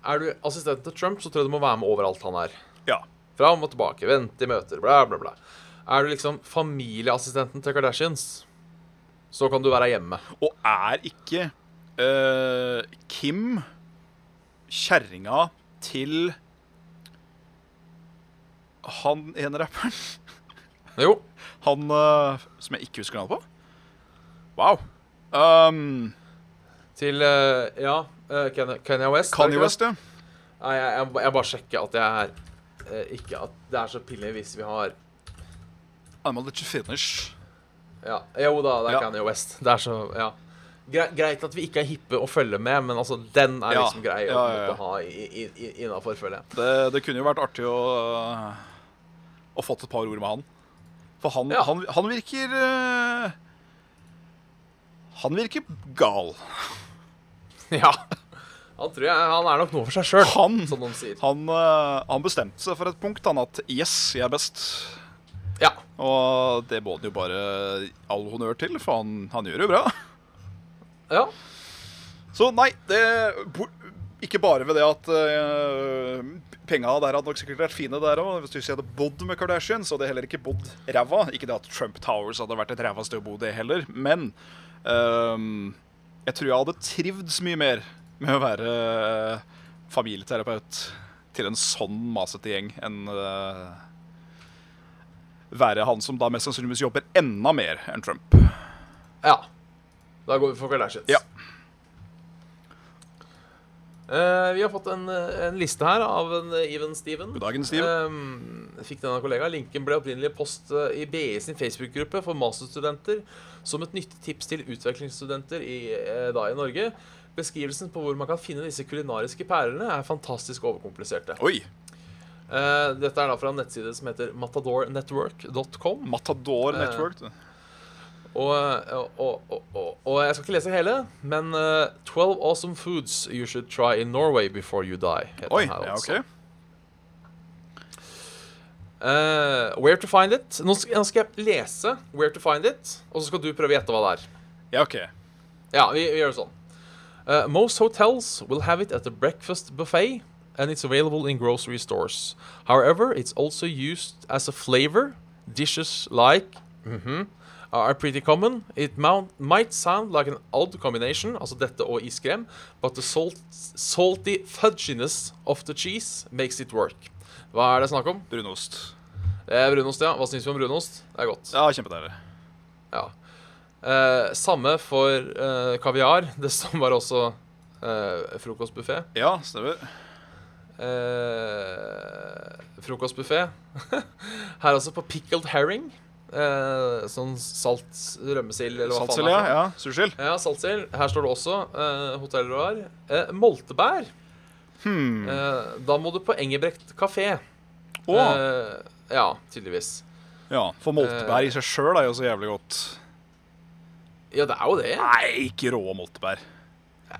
[SPEAKER 1] er du assistent til Trump, så tror jeg du må være med overalt han er.
[SPEAKER 2] Ja.
[SPEAKER 1] Fram og tilbake, vente i møter, bla, bla, bla. Er du liksom familieassistenten til Kardashians, så kan du være hjemme.
[SPEAKER 2] Og er ikke eh, Kim kjerringa til han ene rapperen?
[SPEAKER 1] Jo.
[SPEAKER 2] Han eh, som jeg ikke husker navnet på? Wow. Um,
[SPEAKER 1] Til eh, ja, eh, Ken- Kanye West. er det
[SPEAKER 2] Kanye
[SPEAKER 1] ikke det?
[SPEAKER 2] West, ja.
[SPEAKER 1] Nei, jeg, jeg, jeg bare sjekker at jeg er eh, Ikke at det er så pinlig hvis vi har
[SPEAKER 2] I'm a little finish.
[SPEAKER 1] Ja, Jo da, det er
[SPEAKER 2] Ja.
[SPEAKER 1] Kanye West. Det er så Ja. Gre greit at vi ikke er hippe å følge med, men altså, den er
[SPEAKER 2] Ja.
[SPEAKER 1] liksom grei å
[SPEAKER 2] Ja, ja, ja.
[SPEAKER 1] måtte ha i- i- i- innafor, føler jeg.
[SPEAKER 2] Det, det kunne jo vært artig å, eh, å fått et par ord med han. For han,
[SPEAKER 1] Ja.
[SPEAKER 2] han, han virker eh, Han virker gal.
[SPEAKER 1] Ja. Han tror jeg Han er nok noe for seg sjøl,
[SPEAKER 2] Han,
[SPEAKER 1] som de sier.
[SPEAKER 2] han, eh, han bestemte seg for et punkt, han, at yes, jeg er best.
[SPEAKER 1] Ja.
[SPEAKER 2] Og det må han jo bare all honnør til, for han, han gjør det jo bra.
[SPEAKER 1] ja.
[SPEAKER 2] Så nei, det bo- Ikke bare ved det at uh, penga der hadde nok sikkert vært fine der òg, hvis du ikke hadde bodd med Kardashians, og det heller ikke bodd ræva. Ikke det at Trump Towers hadde vært et ræva sted å bo, det heller, men ehm, jeg tror jeg hadde trivdes mye mer med å være eh, familieterapeut til en sånn masete gjeng enn eh, være han som da mest sannsynligvis jobber enda mer enn Trump.
[SPEAKER 1] Ja. Da går vi for Kardashians.
[SPEAKER 2] Ja.
[SPEAKER 1] Eh, vi har fått en, eh, en liste her av en eh, Even Steven.
[SPEAKER 2] God dagen, Steve.
[SPEAKER 1] Ehm, fikk denne kollega. Linken ble opprinnelig post eh, i BI sin Facebook-gruppe for masterstudenter som et nyttig tips til utvekslingsstudenter i, eh, da i Norge. Beskrivelsen på hvor man kan finne disse kulinariske perlene, er fantastisk overkompliserte.
[SPEAKER 2] Oi!
[SPEAKER 1] Eh, dette er da fra en nettside som heter matadornetwork.com.
[SPEAKER 2] Matador Network. du.
[SPEAKER 1] Og, og, og, og, og jeg skal ikke lese hele, men eh, 12 awesome foods you should try in Norway before you die. heter
[SPEAKER 2] Oi,
[SPEAKER 1] den her
[SPEAKER 2] ja,
[SPEAKER 1] altså.
[SPEAKER 2] ok.
[SPEAKER 1] Eh, where to find it. Nå skal, nå skal jeg lese Where to find it, og så skal du prøve å gjette hva det er.
[SPEAKER 2] Ja, ok.
[SPEAKER 1] Ja, vi, vi gjør det sånn. Eh, most hotels will have it at the breakfast buffet, and it's available in grocery stores. However, it's also used as a flavor. Dishes like mhm, are pretty common. It mount, might sound like an odd combination, altså dette og iskrem, but the salt, salty fudginess of the cheese makes it work. Hva er det snakk om?
[SPEAKER 2] Brunost.
[SPEAKER 1] Det er brunost, ja. Hva syns vi om brunost? Det er godt.
[SPEAKER 2] Ja, kjempedeilig.
[SPEAKER 1] Ja. Eh, samme for eh, kaviar. Det som var også eh, frokostbuffé.
[SPEAKER 2] Ja, stemmer.
[SPEAKER 1] Eh, frokostbuffé. Her også på pickled herring. Eh, sånn salt rømmesild, eller hva
[SPEAKER 2] Saltcelle,
[SPEAKER 1] faen det
[SPEAKER 2] ja.
[SPEAKER 1] er. for noe.
[SPEAKER 2] ja. Sursild.
[SPEAKER 1] Ja, saltsild. Her står det også eh, hotellroar. Eh, moltebær. Eh, da må du på Engebrekt kafé.
[SPEAKER 2] Hmm. Å!
[SPEAKER 1] Eh, ja, tydeligvis.
[SPEAKER 2] Ja, for moltebær i seg sjøl er jo så jævlig godt.
[SPEAKER 1] Ja, det er jo det.
[SPEAKER 2] Nei, ikke rå moltebær.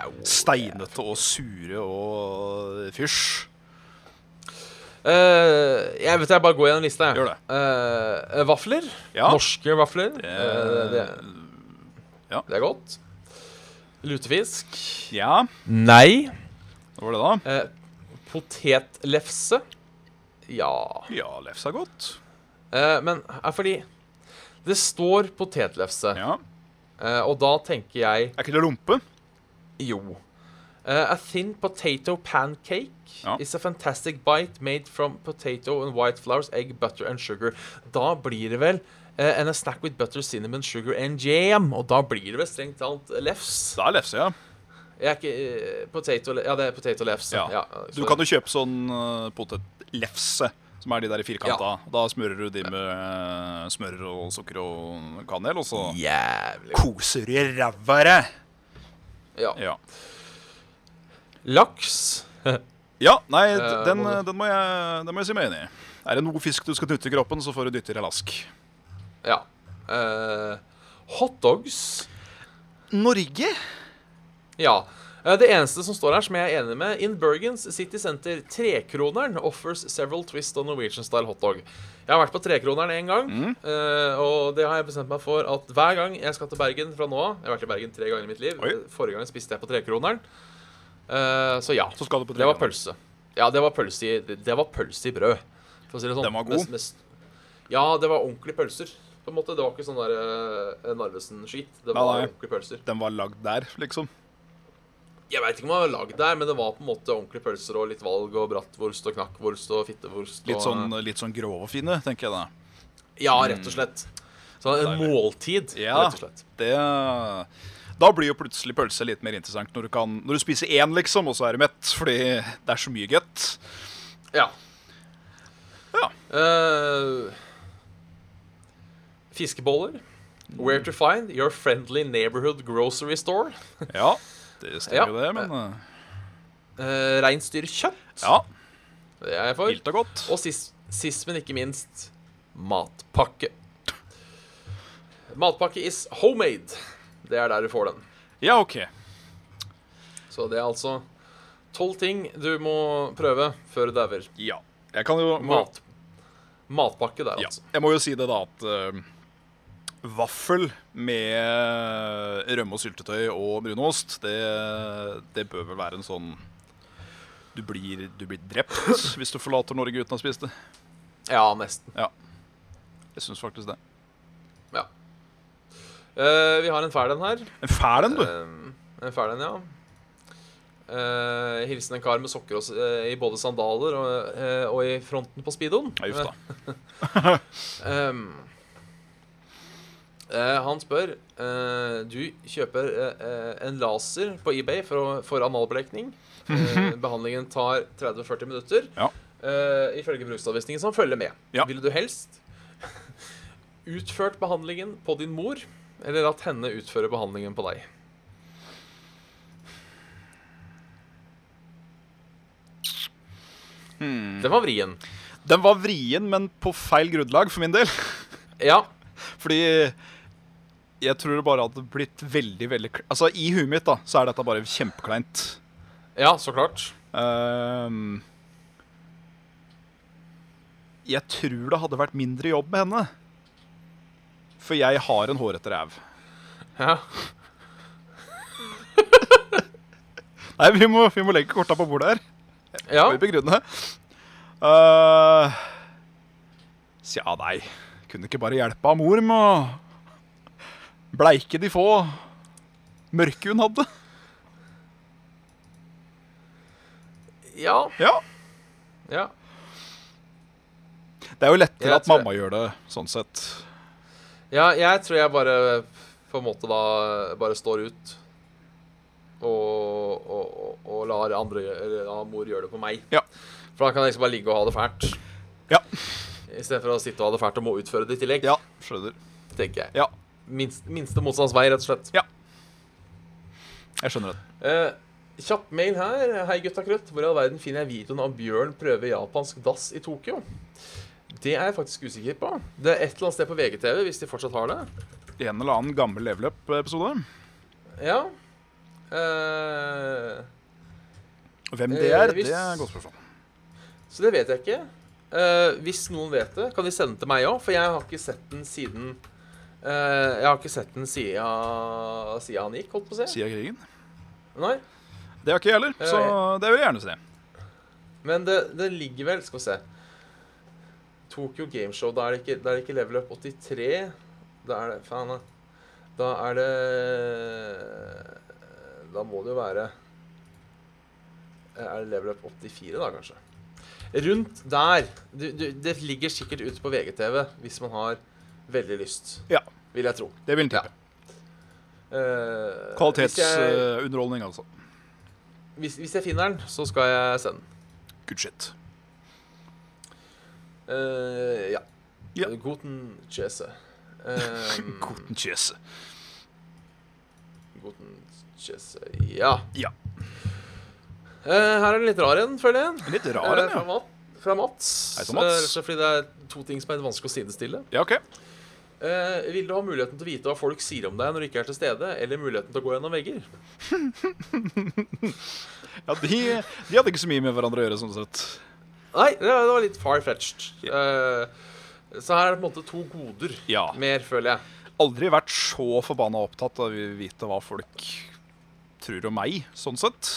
[SPEAKER 1] Au.
[SPEAKER 2] Steinete og sure og fysj.
[SPEAKER 1] Eh, jeg vet jeg bare går gjennom lista. jeg.
[SPEAKER 2] Gjør det.
[SPEAKER 1] Eh, vafler.
[SPEAKER 2] Ja.
[SPEAKER 1] Norske vafler. Eh, det,
[SPEAKER 2] ja.
[SPEAKER 1] det er godt. Lutefisk.
[SPEAKER 2] Ja,
[SPEAKER 1] Nei.
[SPEAKER 2] hva var det da?
[SPEAKER 1] Eh, potetlefse. Ja.
[SPEAKER 2] Ja, lefse er godt.
[SPEAKER 1] Eh, men er fordi det står potetlefse,
[SPEAKER 2] Ja.
[SPEAKER 1] eh, og da tenker jeg
[SPEAKER 2] Er ikke det lompe?
[SPEAKER 1] jo. Eh, a thin potato pancake
[SPEAKER 2] Ja.
[SPEAKER 1] is a fantastic bite made from potato and white flowers, egg, butter and sugar. Da blir det vel eh, and a snack with butter, cinnamon, sugar and jam. Og da blir det vel strengt talt lefs.
[SPEAKER 2] Det er lefse, ja.
[SPEAKER 1] Jeg er ikke eh, potato, Ja, det er potato lefse.
[SPEAKER 2] ja. du
[SPEAKER 1] så-
[SPEAKER 2] kan jo kjøpe sånn eh, potetlefse, som er de der i firkanta.
[SPEAKER 1] Ja.
[SPEAKER 2] Da smører du de med eh, smør og sukker og kanel, og så
[SPEAKER 1] Jævlig
[SPEAKER 2] koser du i ræva av deg.
[SPEAKER 1] ja.
[SPEAKER 2] Ja.
[SPEAKER 1] Laks.
[SPEAKER 2] ja, nei, d-
[SPEAKER 1] Eh,
[SPEAKER 2] den,
[SPEAKER 1] må
[SPEAKER 2] eh, den, må jeg, den må jeg si meg enig i. Er det noe fisk du skal knytte i kroppen, så får du dytte i deg lask.
[SPEAKER 1] Ja. Eh, Hotdogs.
[SPEAKER 2] Norge?
[SPEAKER 1] Ja. Eh, Det eneste som står her, som jeg er enig med In Bergens City Center, trekroneren offers several twist on Norwegian style hotdog. Jeg har vært på trekroneren én gang,
[SPEAKER 2] Mm.
[SPEAKER 1] eh, og det har jeg bestemt meg for at hver gang jeg skal til Bergen fra nå av Jeg har vært i Bergen tre ganger i mitt liv. eh,
[SPEAKER 2] Oi.
[SPEAKER 1] Forrige gang spiste jeg på trekroneren. Eh, Så ja.
[SPEAKER 2] Så skal du på
[SPEAKER 1] det var
[SPEAKER 2] Trekroneren.
[SPEAKER 1] pølse. Ja, det var pølse i, det var pølse i brød, for å si det sånn.
[SPEAKER 2] Den var god.
[SPEAKER 1] Mest- mest- ja, det var ordentlige pølser. På en måte, Det var ikke sånn der eh, Narvesen-skit. Det var
[SPEAKER 2] nei.
[SPEAKER 1] ordentlige pølser.
[SPEAKER 2] Den var lagd der, liksom.
[SPEAKER 1] Jeg veit ikke om den var lagd der, men det var på en måte ordentlige pølser og litt valg og brattvorst og knakkvorst og fittevorst.
[SPEAKER 2] Litt
[SPEAKER 1] og,
[SPEAKER 2] sånn, litt sånn grov og fine, tenker jeg da.
[SPEAKER 1] Ja, rett og slett. Så en
[SPEAKER 2] Deilig.
[SPEAKER 1] måltid,
[SPEAKER 2] Ja.
[SPEAKER 1] rett og slett.
[SPEAKER 2] Det Da blir jo plutselig pølse litt mer interessant når du, kan, når du spiser én, liksom, og så er du mett. Fordi det er så mye godt.
[SPEAKER 1] Ja.
[SPEAKER 2] Ja.
[SPEAKER 1] Eh, fiskeboller. Where to find your friendly neighborhood grocery store.
[SPEAKER 2] Ja, det
[SPEAKER 1] Ja.
[SPEAKER 2] stemmer jo det, men eh,
[SPEAKER 1] Uh, Reinsdyrkjøtt.
[SPEAKER 2] Ja,
[SPEAKER 1] Det er jeg for.
[SPEAKER 2] gildt og godt.
[SPEAKER 1] Og sist, sist, men ikke minst, matpakke. Matpakke is homemade. Det er der du får den.
[SPEAKER 2] Ja, OK.
[SPEAKER 1] Så det er altså tolv ting du må prøve før du dauer.
[SPEAKER 2] Ja. Jeg kan jo må,
[SPEAKER 1] Mat. Matpakke der,
[SPEAKER 2] ja.
[SPEAKER 1] altså.
[SPEAKER 2] Jeg må jo si det, da, at eh, vaffel med rømme og syltetøy og brunost, det, det bør vel være en sånn du blir, du blir drept hvis du forlater Norge uten å ha spist det.
[SPEAKER 1] Ja, nesten.
[SPEAKER 2] Jeg syns faktisk det.
[SPEAKER 1] Ja. Eh, vi har en fæl en her.
[SPEAKER 2] En fæl en, du.
[SPEAKER 1] Eh, en fæl en, ja. Eh, hilsen en kar med sokker og, s- eh, i både sandaler og, eh, og i fronten på speedoen.
[SPEAKER 2] Nei, uff da.
[SPEAKER 1] Ehm, eh, han spør eh, Du kjøper eh, eh, en laser på eBay for, å- for analblekning. Eh, behandlingen tar 30-40 minutter.
[SPEAKER 2] Mhm. Ja.
[SPEAKER 1] Eh, ifølge bruksanvisningen som følger med.
[SPEAKER 2] Ja.
[SPEAKER 1] Ville du helst utført behandlingen på din mor, eller at henne utfører behandlingen på deg?
[SPEAKER 2] Hmm.
[SPEAKER 1] Det var vrien.
[SPEAKER 2] Den var vrien, men på feil grunnlag for min del.
[SPEAKER 1] Ja.
[SPEAKER 2] Fordi jeg tror det bare hadde blitt veldig, veldig kl- Altså, i huet mitt da, så er dette bare kjempekleint.
[SPEAKER 1] Ja, så klart.
[SPEAKER 2] Ehm, jeg tror det hadde vært mindre jobb med henne. For jeg har en hårete ræv.
[SPEAKER 1] Ja.
[SPEAKER 2] Nei, vi må, vi må legge korta på bordet her.
[SPEAKER 1] ja.
[SPEAKER 2] Skal vi begrunne? Eh, Uh, ja, nei. Kunne ikke bare hjelpe av mor med å Bleike de få, mørke hun hadde.
[SPEAKER 1] Ja.
[SPEAKER 2] Ja.
[SPEAKER 1] ja.
[SPEAKER 2] Det er jo lettere
[SPEAKER 1] Jeg
[SPEAKER 2] at
[SPEAKER 1] tror-
[SPEAKER 2] mamma gjør det, sånn sett.
[SPEAKER 1] Ja, jeg tror jeg bare på en måte da bare står ut. Og, og, og- og lar andre gjø- eller la mor gjøre det på meg.
[SPEAKER 2] Ja.
[SPEAKER 1] For da kan jeg liksom bare ligge og ha det fælt.
[SPEAKER 2] Ja.
[SPEAKER 1] I stedet for å sitte og ha det fælt og må utføre det i tillegg.
[SPEAKER 2] Ja, skjønner.
[SPEAKER 1] tenker jeg.
[SPEAKER 2] Ja.
[SPEAKER 1] Minst, minste motstands vei, rett og slett.
[SPEAKER 2] Ja. Jeg skjønner det.
[SPEAKER 1] Eh, kjapp mail her. Hei, gutta krøtt. Hvor i all verden finner jeg videoen av Bjørn prøver japansk dass i Tokyo? Det er jeg faktisk usikker på. Det er et eller annet sted på VGTV, hvis de fortsatt har det.
[SPEAKER 2] En eller annen gammel level up-episode.
[SPEAKER 1] Ja. Eh,
[SPEAKER 2] Hvem
[SPEAKER 1] Eh,
[SPEAKER 2] det er,
[SPEAKER 1] hvis-
[SPEAKER 2] det er et godt spørsmål.
[SPEAKER 1] så det vet jeg ikke. Eh, hvis noen vet det, kan de sende til meg òg, for jeg har ikke sett den siden eh, Jeg har ikke sett den siden, siden han gikk, holdt på å si.
[SPEAKER 2] Siden av krigen.
[SPEAKER 1] Nei.
[SPEAKER 2] Det har ikke jeg heller, så
[SPEAKER 1] Eh,
[SPEAKER 2] det vil jeg gjerne se.
[SPEAKER 1] Men det, det ligger vel Skal vi se. Tokyo Gameshow, da er det ikke, da er det ikke level up 83. Da er det Faen, da. Da er det Da må det jo være Er det level up 84, da, kanskje? Rundt der. Du, du, det ligger sikkert ute på VGTV hvis man har veldig lyst.
[SPEAKER 2] Ja.
[SPEAKER 1] Vil jeg tro.
[SPEAKER 2] Det vil jeg tippe.
[SPEAKER 1] Eh, hvis jeg,
[SPEAKER 2] Kvalitetsunderholdning, altså.
[SPEAKER 1] hvis, hvis jeg finner den, så skal jeg sende den.
[SPEAKER 2] Good shit.
[SPEAKER 1] Eh, ja.
[SPEAKER 2] Ja.
[SPEAKER 1] Guten Chese. Um,
[SPEAKER 2] Guten Chese.
[SPEAKER 1] Guten Chese, ja.
[SPEAKER 2] Ja.
[SPEAKER 1] Eh, her er det litt rar en, føler jeg.
[SPEAKER 2] Litt rar
[SPEAKER 1] Eh,
[SPEAKER 2] en,
[SPEAKER 1] fra,
[SPEAKER 2] ja.
[SPEAKER 1] Mat, fra Mats.
[SPEAKER 2] Hei, så Mats.
[SPEAKER 1] Eh, rett og slett fordi det er to ting som er vanskelig å sidestille.
[SPEAKER 2] Ja, OK.
[SPEAKER 1] Eh, vil du ha muligheten til å vite hva folk sier om deg når du ikke er til stede, eller muligheten til å gå gjennom vegger?
[SPEAKER 2] Ja, de, de hadde ikke så mye med hverandre å gjøre, sånn sett.
[SPEAKER 1] Nei, det var litt far-fetched. Eh, så her er det på en måte to goder.
[SPEAKER 2] Ja.
[SPEAKER 1] Mer, føler jeg.
[SPEAKER 2] Aldri vært så forbanna opptatt av å vite hva folk tror om meg, sånn sett.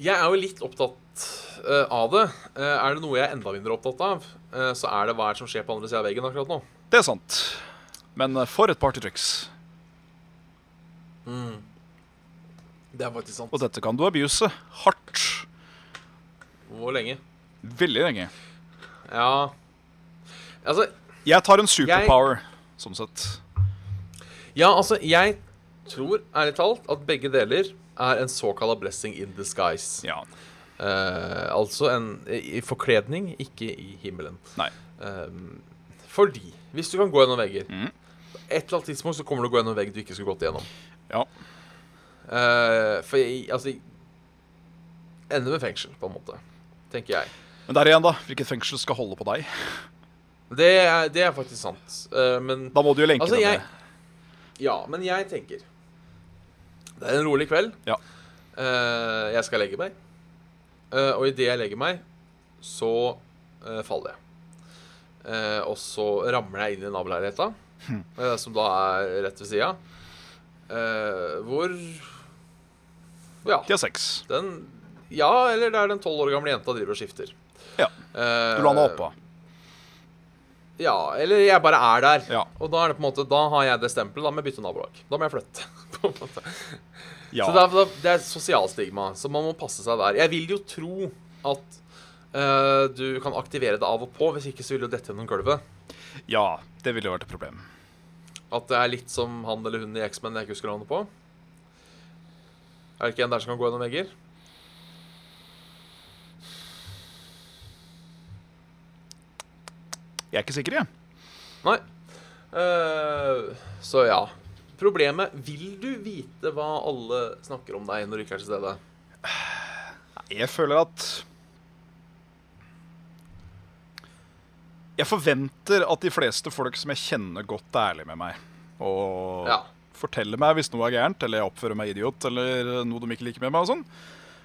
[SPEAKER 1] Jeg er jo litt opptatt eh, av det. Eh, er det noe jeg er enda mindre opptatt av, eh, så er det hva er det som skjer på andre sida av veggen akkurat nå.
[SPEAKER 2] Det er sant. Men eh, for et partytriks.
[SPEAKER 1] Det er faktisk sant.
[SPEAKER 2] Og dette kan du abuse hardt.
[SPEAKER 1] Hvor lenge?
[SPEAKER 2] Veldig lenge.
[SPEAKER 1] Ja Altså,
[SPEAKER 2] Jeg tar en superpower, sånn sett.
[SPEAKER 1] ja, altså jeg tror ærlig talt at begge deler er en såkalla blessing in disguise.
[SPEAKER 2] Ja.
[SPEAKER 1] Eh, altså en i i forkledning, ikke i himmelen.
[SPEAKER 2] Nei.
[SPEAKER 1] Ehm, fordi hvis du kan gå gjennom vegger
[SPEAKER 2] Mhm.
[SPEAKER 1] Et eller annet tidspunkt så kommer du å gå gjennom vegg du ikke skulle gått gjennom.
[SPEAKER 2] Ja.
[SPEAKER 1] Eh, for jeg, altså jeg Ender med fengsel, på en måte. Tenker jeg.
[SPEAKER 2] Men der igjen, da. Hvilket fengsel skal holde på deg?
[SPEAKER 1] Det er, det er faktisk sant. Eh, men
[SPEAKER 2] Da må du jo lenke
[SPEAKER 1] Altså,
[SPEAKER 2] deg
[SPEAKER 1] jeg-
[SPEAKER 2] ned.
[SPEAKER 1] ja, men jeg tenker Det er en rolig kveld.
[SPEAKER 2] Ja.
[SPEAKER 1] Eh, jeg skal legge meg. Eh, og idet jeg legger meg, så eh, faller jeg. Eh, og så ramler jeg inn i naboleiligheta,
[SPEAKER 2] Hm.
[SPEAKER 1] eh, som da er rett ved sida. Eh, hvor Ja.
[SPEAKER 2] De har sex.
[SPEAKER 1] Den Ja, eller det er den tolv år gamle jenta driver og skifter.
[SPEAKER 2] Ja.
[SPEAKER 1] Eh,
[SPEAKER 2] Du landa oppå.
[SPEAKER 1] Ja, eller jeg bare er der.
[SPEAKER 2] Ja.
[SPEAKER 1] Og da er det på en måte, da har jeg det stempelet. Da må jeg bytte nabolag. Da må jeg flytte. på en måte.
[SPEAKER 2] Ja.
[SPEAKER 1] Så det er, det er sosialstigma, så man må passe seg der. Jeg vil jo tro at eh, du kan aktivere det av og på, hvis ikke så vil du dette gjennom gulvet.
[SPEAKER 2] ja. Det ville jo vært et problem.
[SPEAKER 1] At det er litt som han eller hun i X-Men jeg ikke husker navnet på. Er det ikke en der som kan gå gjennom vegger?
[SPEAKER 2] Jeg er ikke sikker, jeg.
[SPEAKER 1] Nei. Eh, så ja. Problemet Vil du vite hva alle snakker om deg når du ikke er til stede?
[SPEAKER 2] Jeg føler at Jeg forventer at de fleste folk som jeg kjenner godt, er ærlige med meg. Og
[SPEAKER 1] Ja.
[SPEAKER 2] forteller meg hvis noe er gærent, eller jeg oppfører meg idiot, eller noe de ikke liker med meg. og sånn.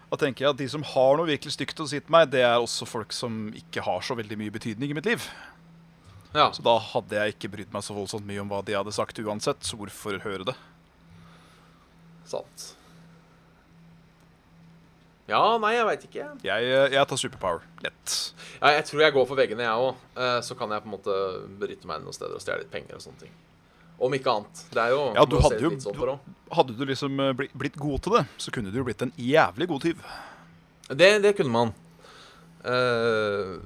[SPEAKER 2] Da tenker jeg at de som har noe virkelig stygt å si til meg, det er også folk som ikke har så veldig mye betydning i mitt liv.
[SPEAKER 1] ja.
[SPEAKER 2] Så da hadde jeg ikke brydd meg så voldsomt mye om hva de hadde sagt uansett, så hvorfor høre det?
[SPEAKER 1] Sant. Ja, nei, jeg veit ikke.
[SPEAKER 2] Jeg, eh, jeg tar superpower. Lett.
[SPEAKER 1] Ja, Eh, jeg tror jeg går for veggene, jeg òg. Så kan jeg på en måte bryte meg inn noen steder og stjele litt penger og sånne ting. Om ikke annet. Det er jo
[SPEAKER 2] Ja, du
[SPEAKER 1] må se
[SPEAKER 2] hadde jo-
[SPEAKER 1] litt sånn for også.
[SPEAKER 2] Hadde du liksom eh, bli- blitt god til det, så kunne du jo blitt en jævlig god tyv.
[SPEAKER 1] det, det kunne man. Eh,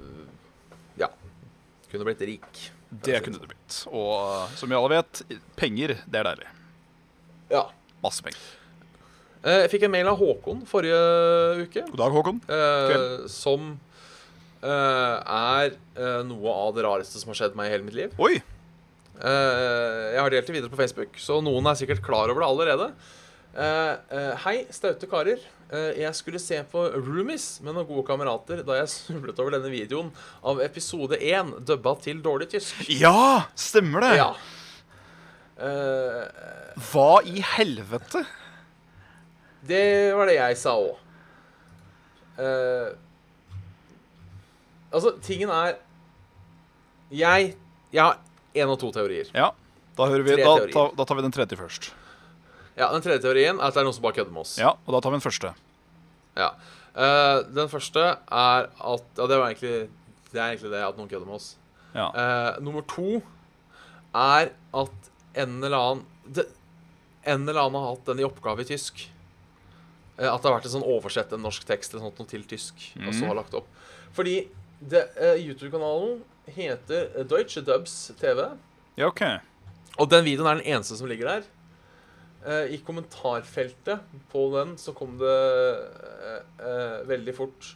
[SPEAKER 1] ja. Kunne blitt rik.
[SPEAKER 2] Det kunne du blitt. Og eh, som vi alle vet, penger, det er deilig.
[SPEAKER 1] Ja.
[SPEAKER 2] Masse penger.
[SPEAKER 1] Eh, jeg fikk en mail av Håkon forrige uke.
[SPEAKER 2] God dag, Håkon.
[SPEAKER 1] eh,
[SPEAKER 2] Kveld.
[SPEAKER 1] som eh, er eh, noe av det rareste som har skjedd meg i hele mitt liv.
[SPEAKER 2] Oi!
[SPEAKER 1] Eh, jeg har delt det videre på Facebook, så noen er sikkert klar over det allerede. Eh, eh, hei, staute karer. Eh, jeg skulle se på Roomies med noen gode kamerater da jeg snublet over denne videoen av episode 1, dubba til dårlig tysk.
[SPEAKER 2] Ja, stemmer det!
[SPEAKER 1] Ja. Eh,
[SPEAKER 2] Hva i helvete?
[SPEAKER 1] Det var det jeg sa òg. altså, tingen er Jeg Jeg har én og to teorier.
[SPEAKER 2] Ja, da, hører vi,
[SPEAKER 1] Tre
[SPEAKER 2] da,
[SPEAKER 1] teorier.
[SPEAKER 2] ta, da tar vi den tredje først.
[SPEAKER 1] Ja, Den tredje teorien er at det er noen som bare kødder med oss.
[SPEAKER 2] Ja, og da tar vi den første.
[SPEAKER 1] Ja. Eh, den første er at Ja, det var egentlig det er egentlig det at noen kødder med oss.
[SPEAKER 2] Ja.
[SPEAKER 1] Eh, nummer to er at en eller annen det, En eller annen har hatt den i oppgave i tysk. Eh, at det har vært en sånn oversett en norsk tekst eller sånt noe til tysk. Og så har lagt opp. Fordi det, eh, YouTube-kanalen heter Deutsche Dubs TV.
[SPEAKER 2] ja, OK.
[SPEAKER 1] Og den videoen er den eneste som ligger der. Eh, I kommentarfeltet på den så kom det eh, eh, veldig fort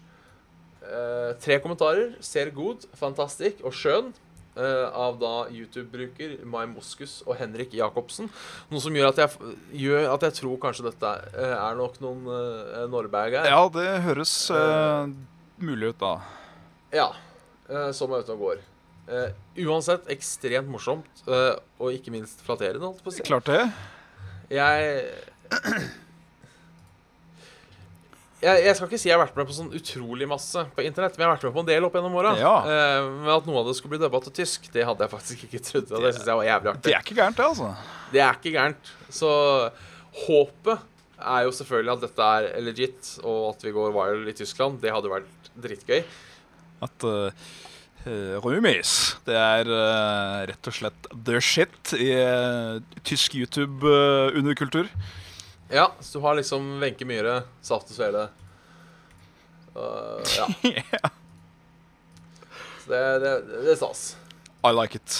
[SPEAKER 1] eh, tre kommentarer. 'Ser god', 'Fantastisk' og 'Skjønn'. eh, av da YouTube-bruker Mai Moskus og Henrik Jacobsen. Noe som gjør at jeg, f- gjør at jeg tror kanskje dette er, eh, er nok noen uh, Norberg her.
[SPEAKER 2] Ja, det høres eh, mulig ut, da.
[SPEAKER 1] Ja. eh, Som er ute og går. Eh, uansett ekstremt morsomt, eh, og ikke minst flatterende, holdt jeg på å si.
[SPEAKER 2] Klart det.
[SPEAKER 1] Jeg jeg, jeg skal ikke si jeg har vært med på sånn utrolig masse på internett, men jeg har vært med på en del opp gjennom åra.
[SPEAKER 2] Ja.
[SPEAKER 1] Eh, men at noe av det skulle bli dubba til tysk, det hadde jeg faktisk ikke trodd. Og det synes jeg var jævlig
[SPEAKER 2] Det
[SPEAKER 1] artig.
[SPEAKER 2] er ikke gærent, det, altså.
[SPEAKER 1] Det er ikke gærent. Så håpet er jo selvfølgelig at dette er legit, og at vi går viral i Tyskland. Det hadde jo vært dritgøy.
[SPEAKER 2] At eh, eh, Roomies, det er eh, rett og slett the shit i eh, tysk eh, YouTube-underkultur.
[SPEAKER 1] Ja, så du har liksom Wenche Myhre, Saft og Svele Eh, Ja. Så det, det, det er stas.
[SPEAKER 2] I like it.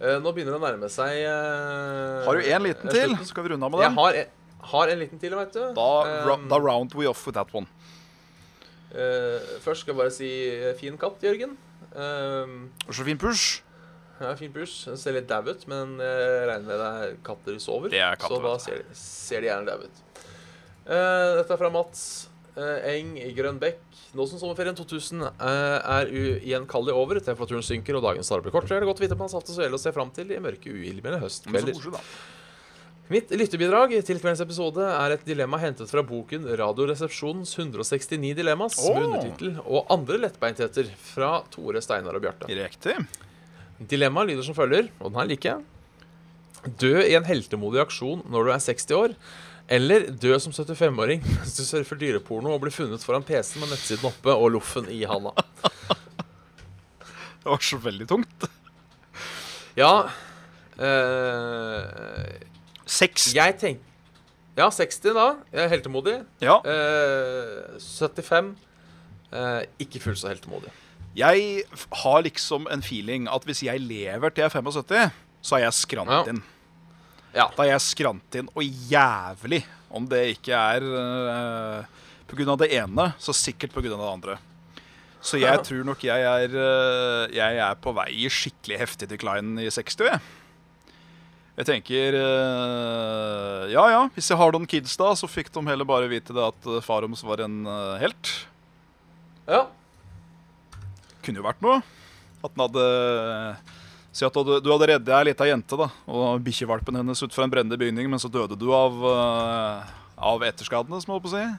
[SPEAKER 1] Eh, nå begynner det å nærme seg eh,
[SPEAKER 2] Har du én liten
[SPEAKER 1] eh,
[SPEAKER 2] til,
[SPEAKER 1] slutten.
[SPEAKER 2] så skal vi runde av med
[SPEAKER 1] Jeg
[SPEAKER 2] den.
[SPEAKER 1] har, en- har en liten til, vet du.
[SPEAKER 2] Da, ra-
[SPEAKER 1] Eh,
[SPEAKER 2] da round we off with that one.
[SPEAKER 1] eh, først skal jeg bare si eh, fin katt, Jørgen. Eh,
[SPEAKER 2] Så fin push.
[SPEAKER 1] ja, fin pus. Den Ser litt dau ut, men eh, jeg regner med det er katter sover.
[SPEAKER 2] Det er katter,
[SPEAKER 1] så da
[SPEAKER 2] vet
[SPEAKER 1] ser, de- ser de gjerne dau ut. Eh, dette er fra Mats eh, Eng i Grønbekk. Nå som sommerferien 2000 eh, er ugjenkallelig over, temperaturen synker og dagens dag blir kortere, er det godt å vite at man har satt og svele å se fram til i mørke, uhildmilde
[SPEAKER 2] Men så
[SPEAKER 1] høstkvelder.
[SPEAKER 2] koselig, da.
[SPEAKER 1] Mitt lyttebidrag til kveldens episode er et dilemma hentet fra boken Radioresepsjonens 169 dilemmas, med
[SPEAKER 2] Åh.
[SPEAKER 1] undertittel 'Og andre lettbeintheter' fra Tore, Steinar og Bjarte.
[SPEAKER 2] Riktig.
[SPEAKER 1] Dilemmaet lyder som følger, og den her liker jeg. Dø i en heltemodig aksjon når du er 60 år, eller dø som 75-åring mens du surfer dyreporno og blir funnet foran PC-en med nettsiden oppe og loffen i handa.
[SPEAKER 2] Det var så veldig tungt.
[SPEAKER 1] Ja eh,
[SPEAKER 2] Seks.
[SPEAKER 1] Jeg tenker Ja, 60 da. Jeg er heltemodig.
[SPEAKER 2] Ja.
[SPEAKER 1] Eh, 75. Eh, ikke fullt så heltemodig.
[SPEAKER 2] Jeg f- har liksom en feeling at hvis jeg lever til jeg er 75, så er jeg skrant
[SPEAKER 1] Ja.
[SPEAKER 2] inn.
[SPEAKER 1] Ja.
[SPEAKER 2] Da er jeg skrant inn, og jævlig. Om det ikke er uh, pga. det ene, så sikkert pga. det andre. Så jeg
[SPEAKER 1] Ja.
[SPEAKER 2] tror nok jeg er, eh, jeg er på vei i skikkelig heftig decline i 60, jeg. Jeg tenker eh, Ja ja, hvis jeg har noen kids da, så fikk de heller bare vite det at eh, far deres var en eh, helt.
[SPEAKER 1] ja.
[SPEAKER 2] kunne jo vært noe. At den hadde eh, Si at du, hadde- du hadde reddet ei lita jente da, og bikkjevalpen hennes ut fra en brennende bygning, men så døde du av, eh, av etterskadene, som jeg holdt på å si.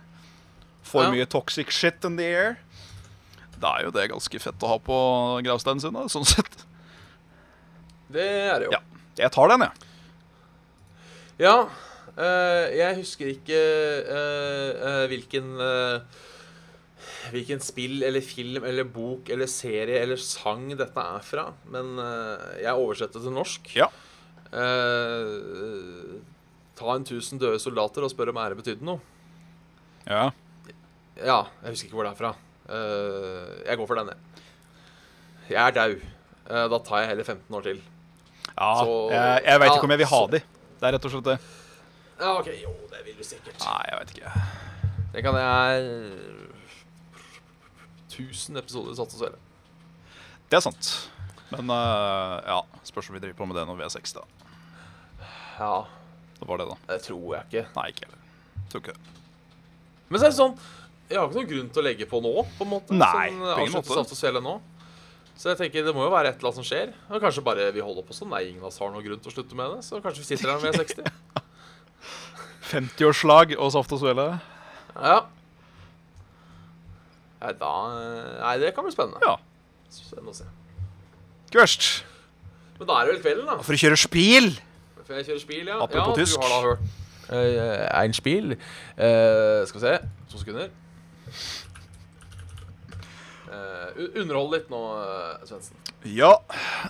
[SPEAKER 2] For
[SPEAKER 1] Ja.
[SPEAKER 2] mye toxic shit in the air. Da er jo det ganske fett å ha på gravsteinen sin, da, sånn sett.
[SPEAKER 1] Det er det jo.
[SPEAKER 2] Ja. Jeg tar den, jeg.
[SPEAKER 1] Ja, eh, jeg husker ikke eh, eh, hvilken eh, hvilken spill eller film eller bok eller serie eller sang dette er fra, men eh, jeg oversetter til norsk.
[SPEAKER 2] Ja.
[SPEAKER 1] Eh, ta en tusen døde soldater og spør om ære betydde noe.
[SPEAKER 2] Ja.
[SPEAKER 1] Ja, jeg husker ikke hvor det er fra. Eh, jeg går for den, jeg. Jeg er dau. Eh, da tar jeg heller 15 år til.
[SPEAKER 2] ja
[SPEAKER 1] Så-
[SPEAKER 2] jeg jeg veit
[SPEAKER 1] ja,
[SPEAKER 2] ikke om jeg vil ha
[SPEAKER 1] så-
[SPEAKER 2] de. Det er rett og slett det.
[SPEAKER 1] Ja, ok, Jo, det vil du sikkert.
[SPEAKER 2] Nei, jeg veit ikke.
[SPEAKER 1] Det kan jeg eh, 1000 episoder satt og svele.
[SPEAKER 2] Det er sant. Men eh, ja, spørs om vi driver på med det når vi er seks, da.
[SPEAKER 1] Ja,
[SPEAKER 2] Det var det, da.
[SPEAKER 1] det tror jeg ikke.
[SPEAKER 2] Nei, ikke heller. Tror ikke det.
[SPEAKER 1] Men så er det sånn Jeg har ikke noen grunn til å legge på nå, på en måte.
[SPEAKER 2] Nei,
[SPEAKER 1] sånn,
[SPEAKER 2] på ingen
[SPEAKER 1] avslutte
[SPEAKER 2] måte.
[SPEAKER 1] Saft og Svele nå. Så jeg tenker det må jo være et eller annet som skjer. Og kanskje bare vi holder på sånn. Nei, ingen av oss har noen grunn til å slutte med det. Så kanskje vi sitter her når vi er 60.
[SPEAKER 2] 50-årslag og saft og svele.
[SPEAKER 1] Ja. Nei, da eh, Nei, det kan bli spennende.
[SPEAKER 2] Ja.
[SPEAKER 1] Spennende å se.
[SPEAKER 2] Ikke verst.
[SPEAKER 1] Men da er det vel kvelden, da.
[SPEAKER 2] For å kjøre spil!
[SPEAKER 1] For jeg kjører spil, ja.
[SPEAKER 2] Apropos
[SPEAKER 1] ja,
[SPEAKER 2] tysk.
[SPEAKER 1] Du har da hørt uh, en spil. Eh, skal vi se. To sekunder. Eh, underhold litt nå, eh, Svendsen.
[SPEAKER 2] Ja,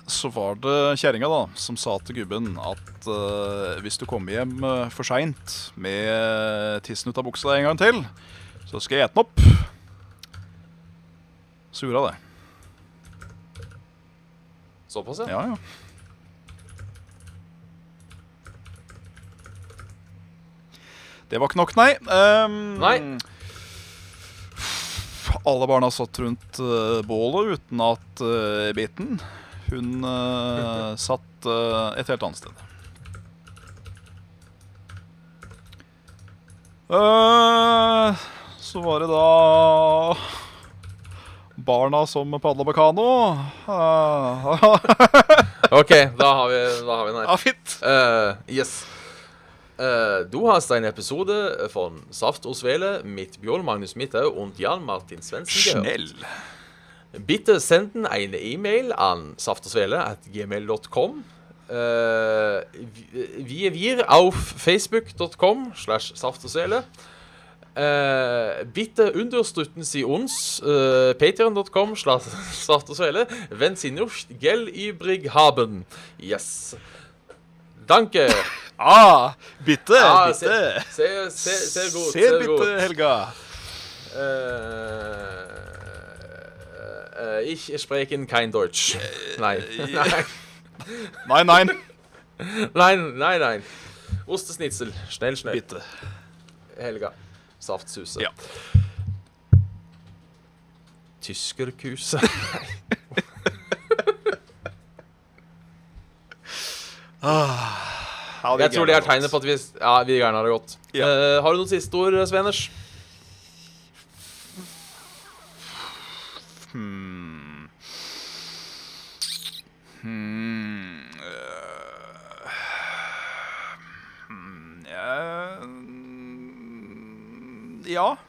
[SPEAKER 2] så var det kjerringa da som sa til gubben at eh, hvis du kommer hjem eh, for seint med eh, tissen ut av buksa en gang til, så skal jeg ete den opp. Så gjorde hun det.
[SPEAKER 1] Såpass, ja.
[SPEAKER 2] Ja, ja. Det var ikke nok, nei. Ehm,
[SPEAKER 1] Nei.
[SPEAKER 2] Alle barna satt rundt eh, bålet uten at eh, biten Hun eh, satt eh, et helt annet sted. Eh, så var det da barna som padla med kano. Eh,
[SPEAKER 1] OK, da har vi, da har vi den her.
[SPEAKER 2] ja, fint.
[SPEAKER 1] Eh, yes. Eh, du hast eine Episode von Saft und Svele mit Björn Magnus Mittau und Jan Martin Svendsen gehört.
[SPEAKER 2] Schnell.
[SPEAKER 1] Bitte senden eine E-Mail an saftogsvele.gmail.com. Uh, wir, wir auf facebook.com slash saftogsvele. Eh, bitte understøtten si uns uh, patreon.com slash saftogsvele. Wenn sie nicht Geld übrig haben. Yes. Danke.
[SPEAKER 2] Ah, bitte,
[SPEAKER 1] Ja,
[SPEAKER 2] bitte.
[SPEAKER 1] Se, se, se godt.
[SPEAKER 2] Se
[SPEAKER 1] Se
[SPEAKER 2] bitte,
[SPEAKER 1] godt.
[SPEAKER 2] Helga.
[SPEAKER 1] Eh, eh, ich sprechen kein Deutsch.
[SPEAKER 2] Eh,
[SPEAKER 1] Nein. Nein,
[SPEAKER 2] Nei, nei.
[SPEAKER 1] nein, nein. nein. Ostesnitzel. Schnell, schnell.
[SPEAKER 2] Bitte.
[SPEAKER 1] Helga. Saftsuse.
[SPEAKER 2] Ja.
[SPEAKER 1] Tyskerkuse.
[SPEAKER 2] Ja, vi
[SPEAKER 1] Jeg tror det
[SPEAKER 2] greier
[SPEAKER 1] er tegnet på at vi Ja, vi gjerne har det godt.
[SPEAKER 2] Ja.
[SPEAKER 1] Eh, har du noen siste ord, Sveners?
[SPEAKER 2] Hmm. Hmm. øh, hmm, jeg- Eh, Ja.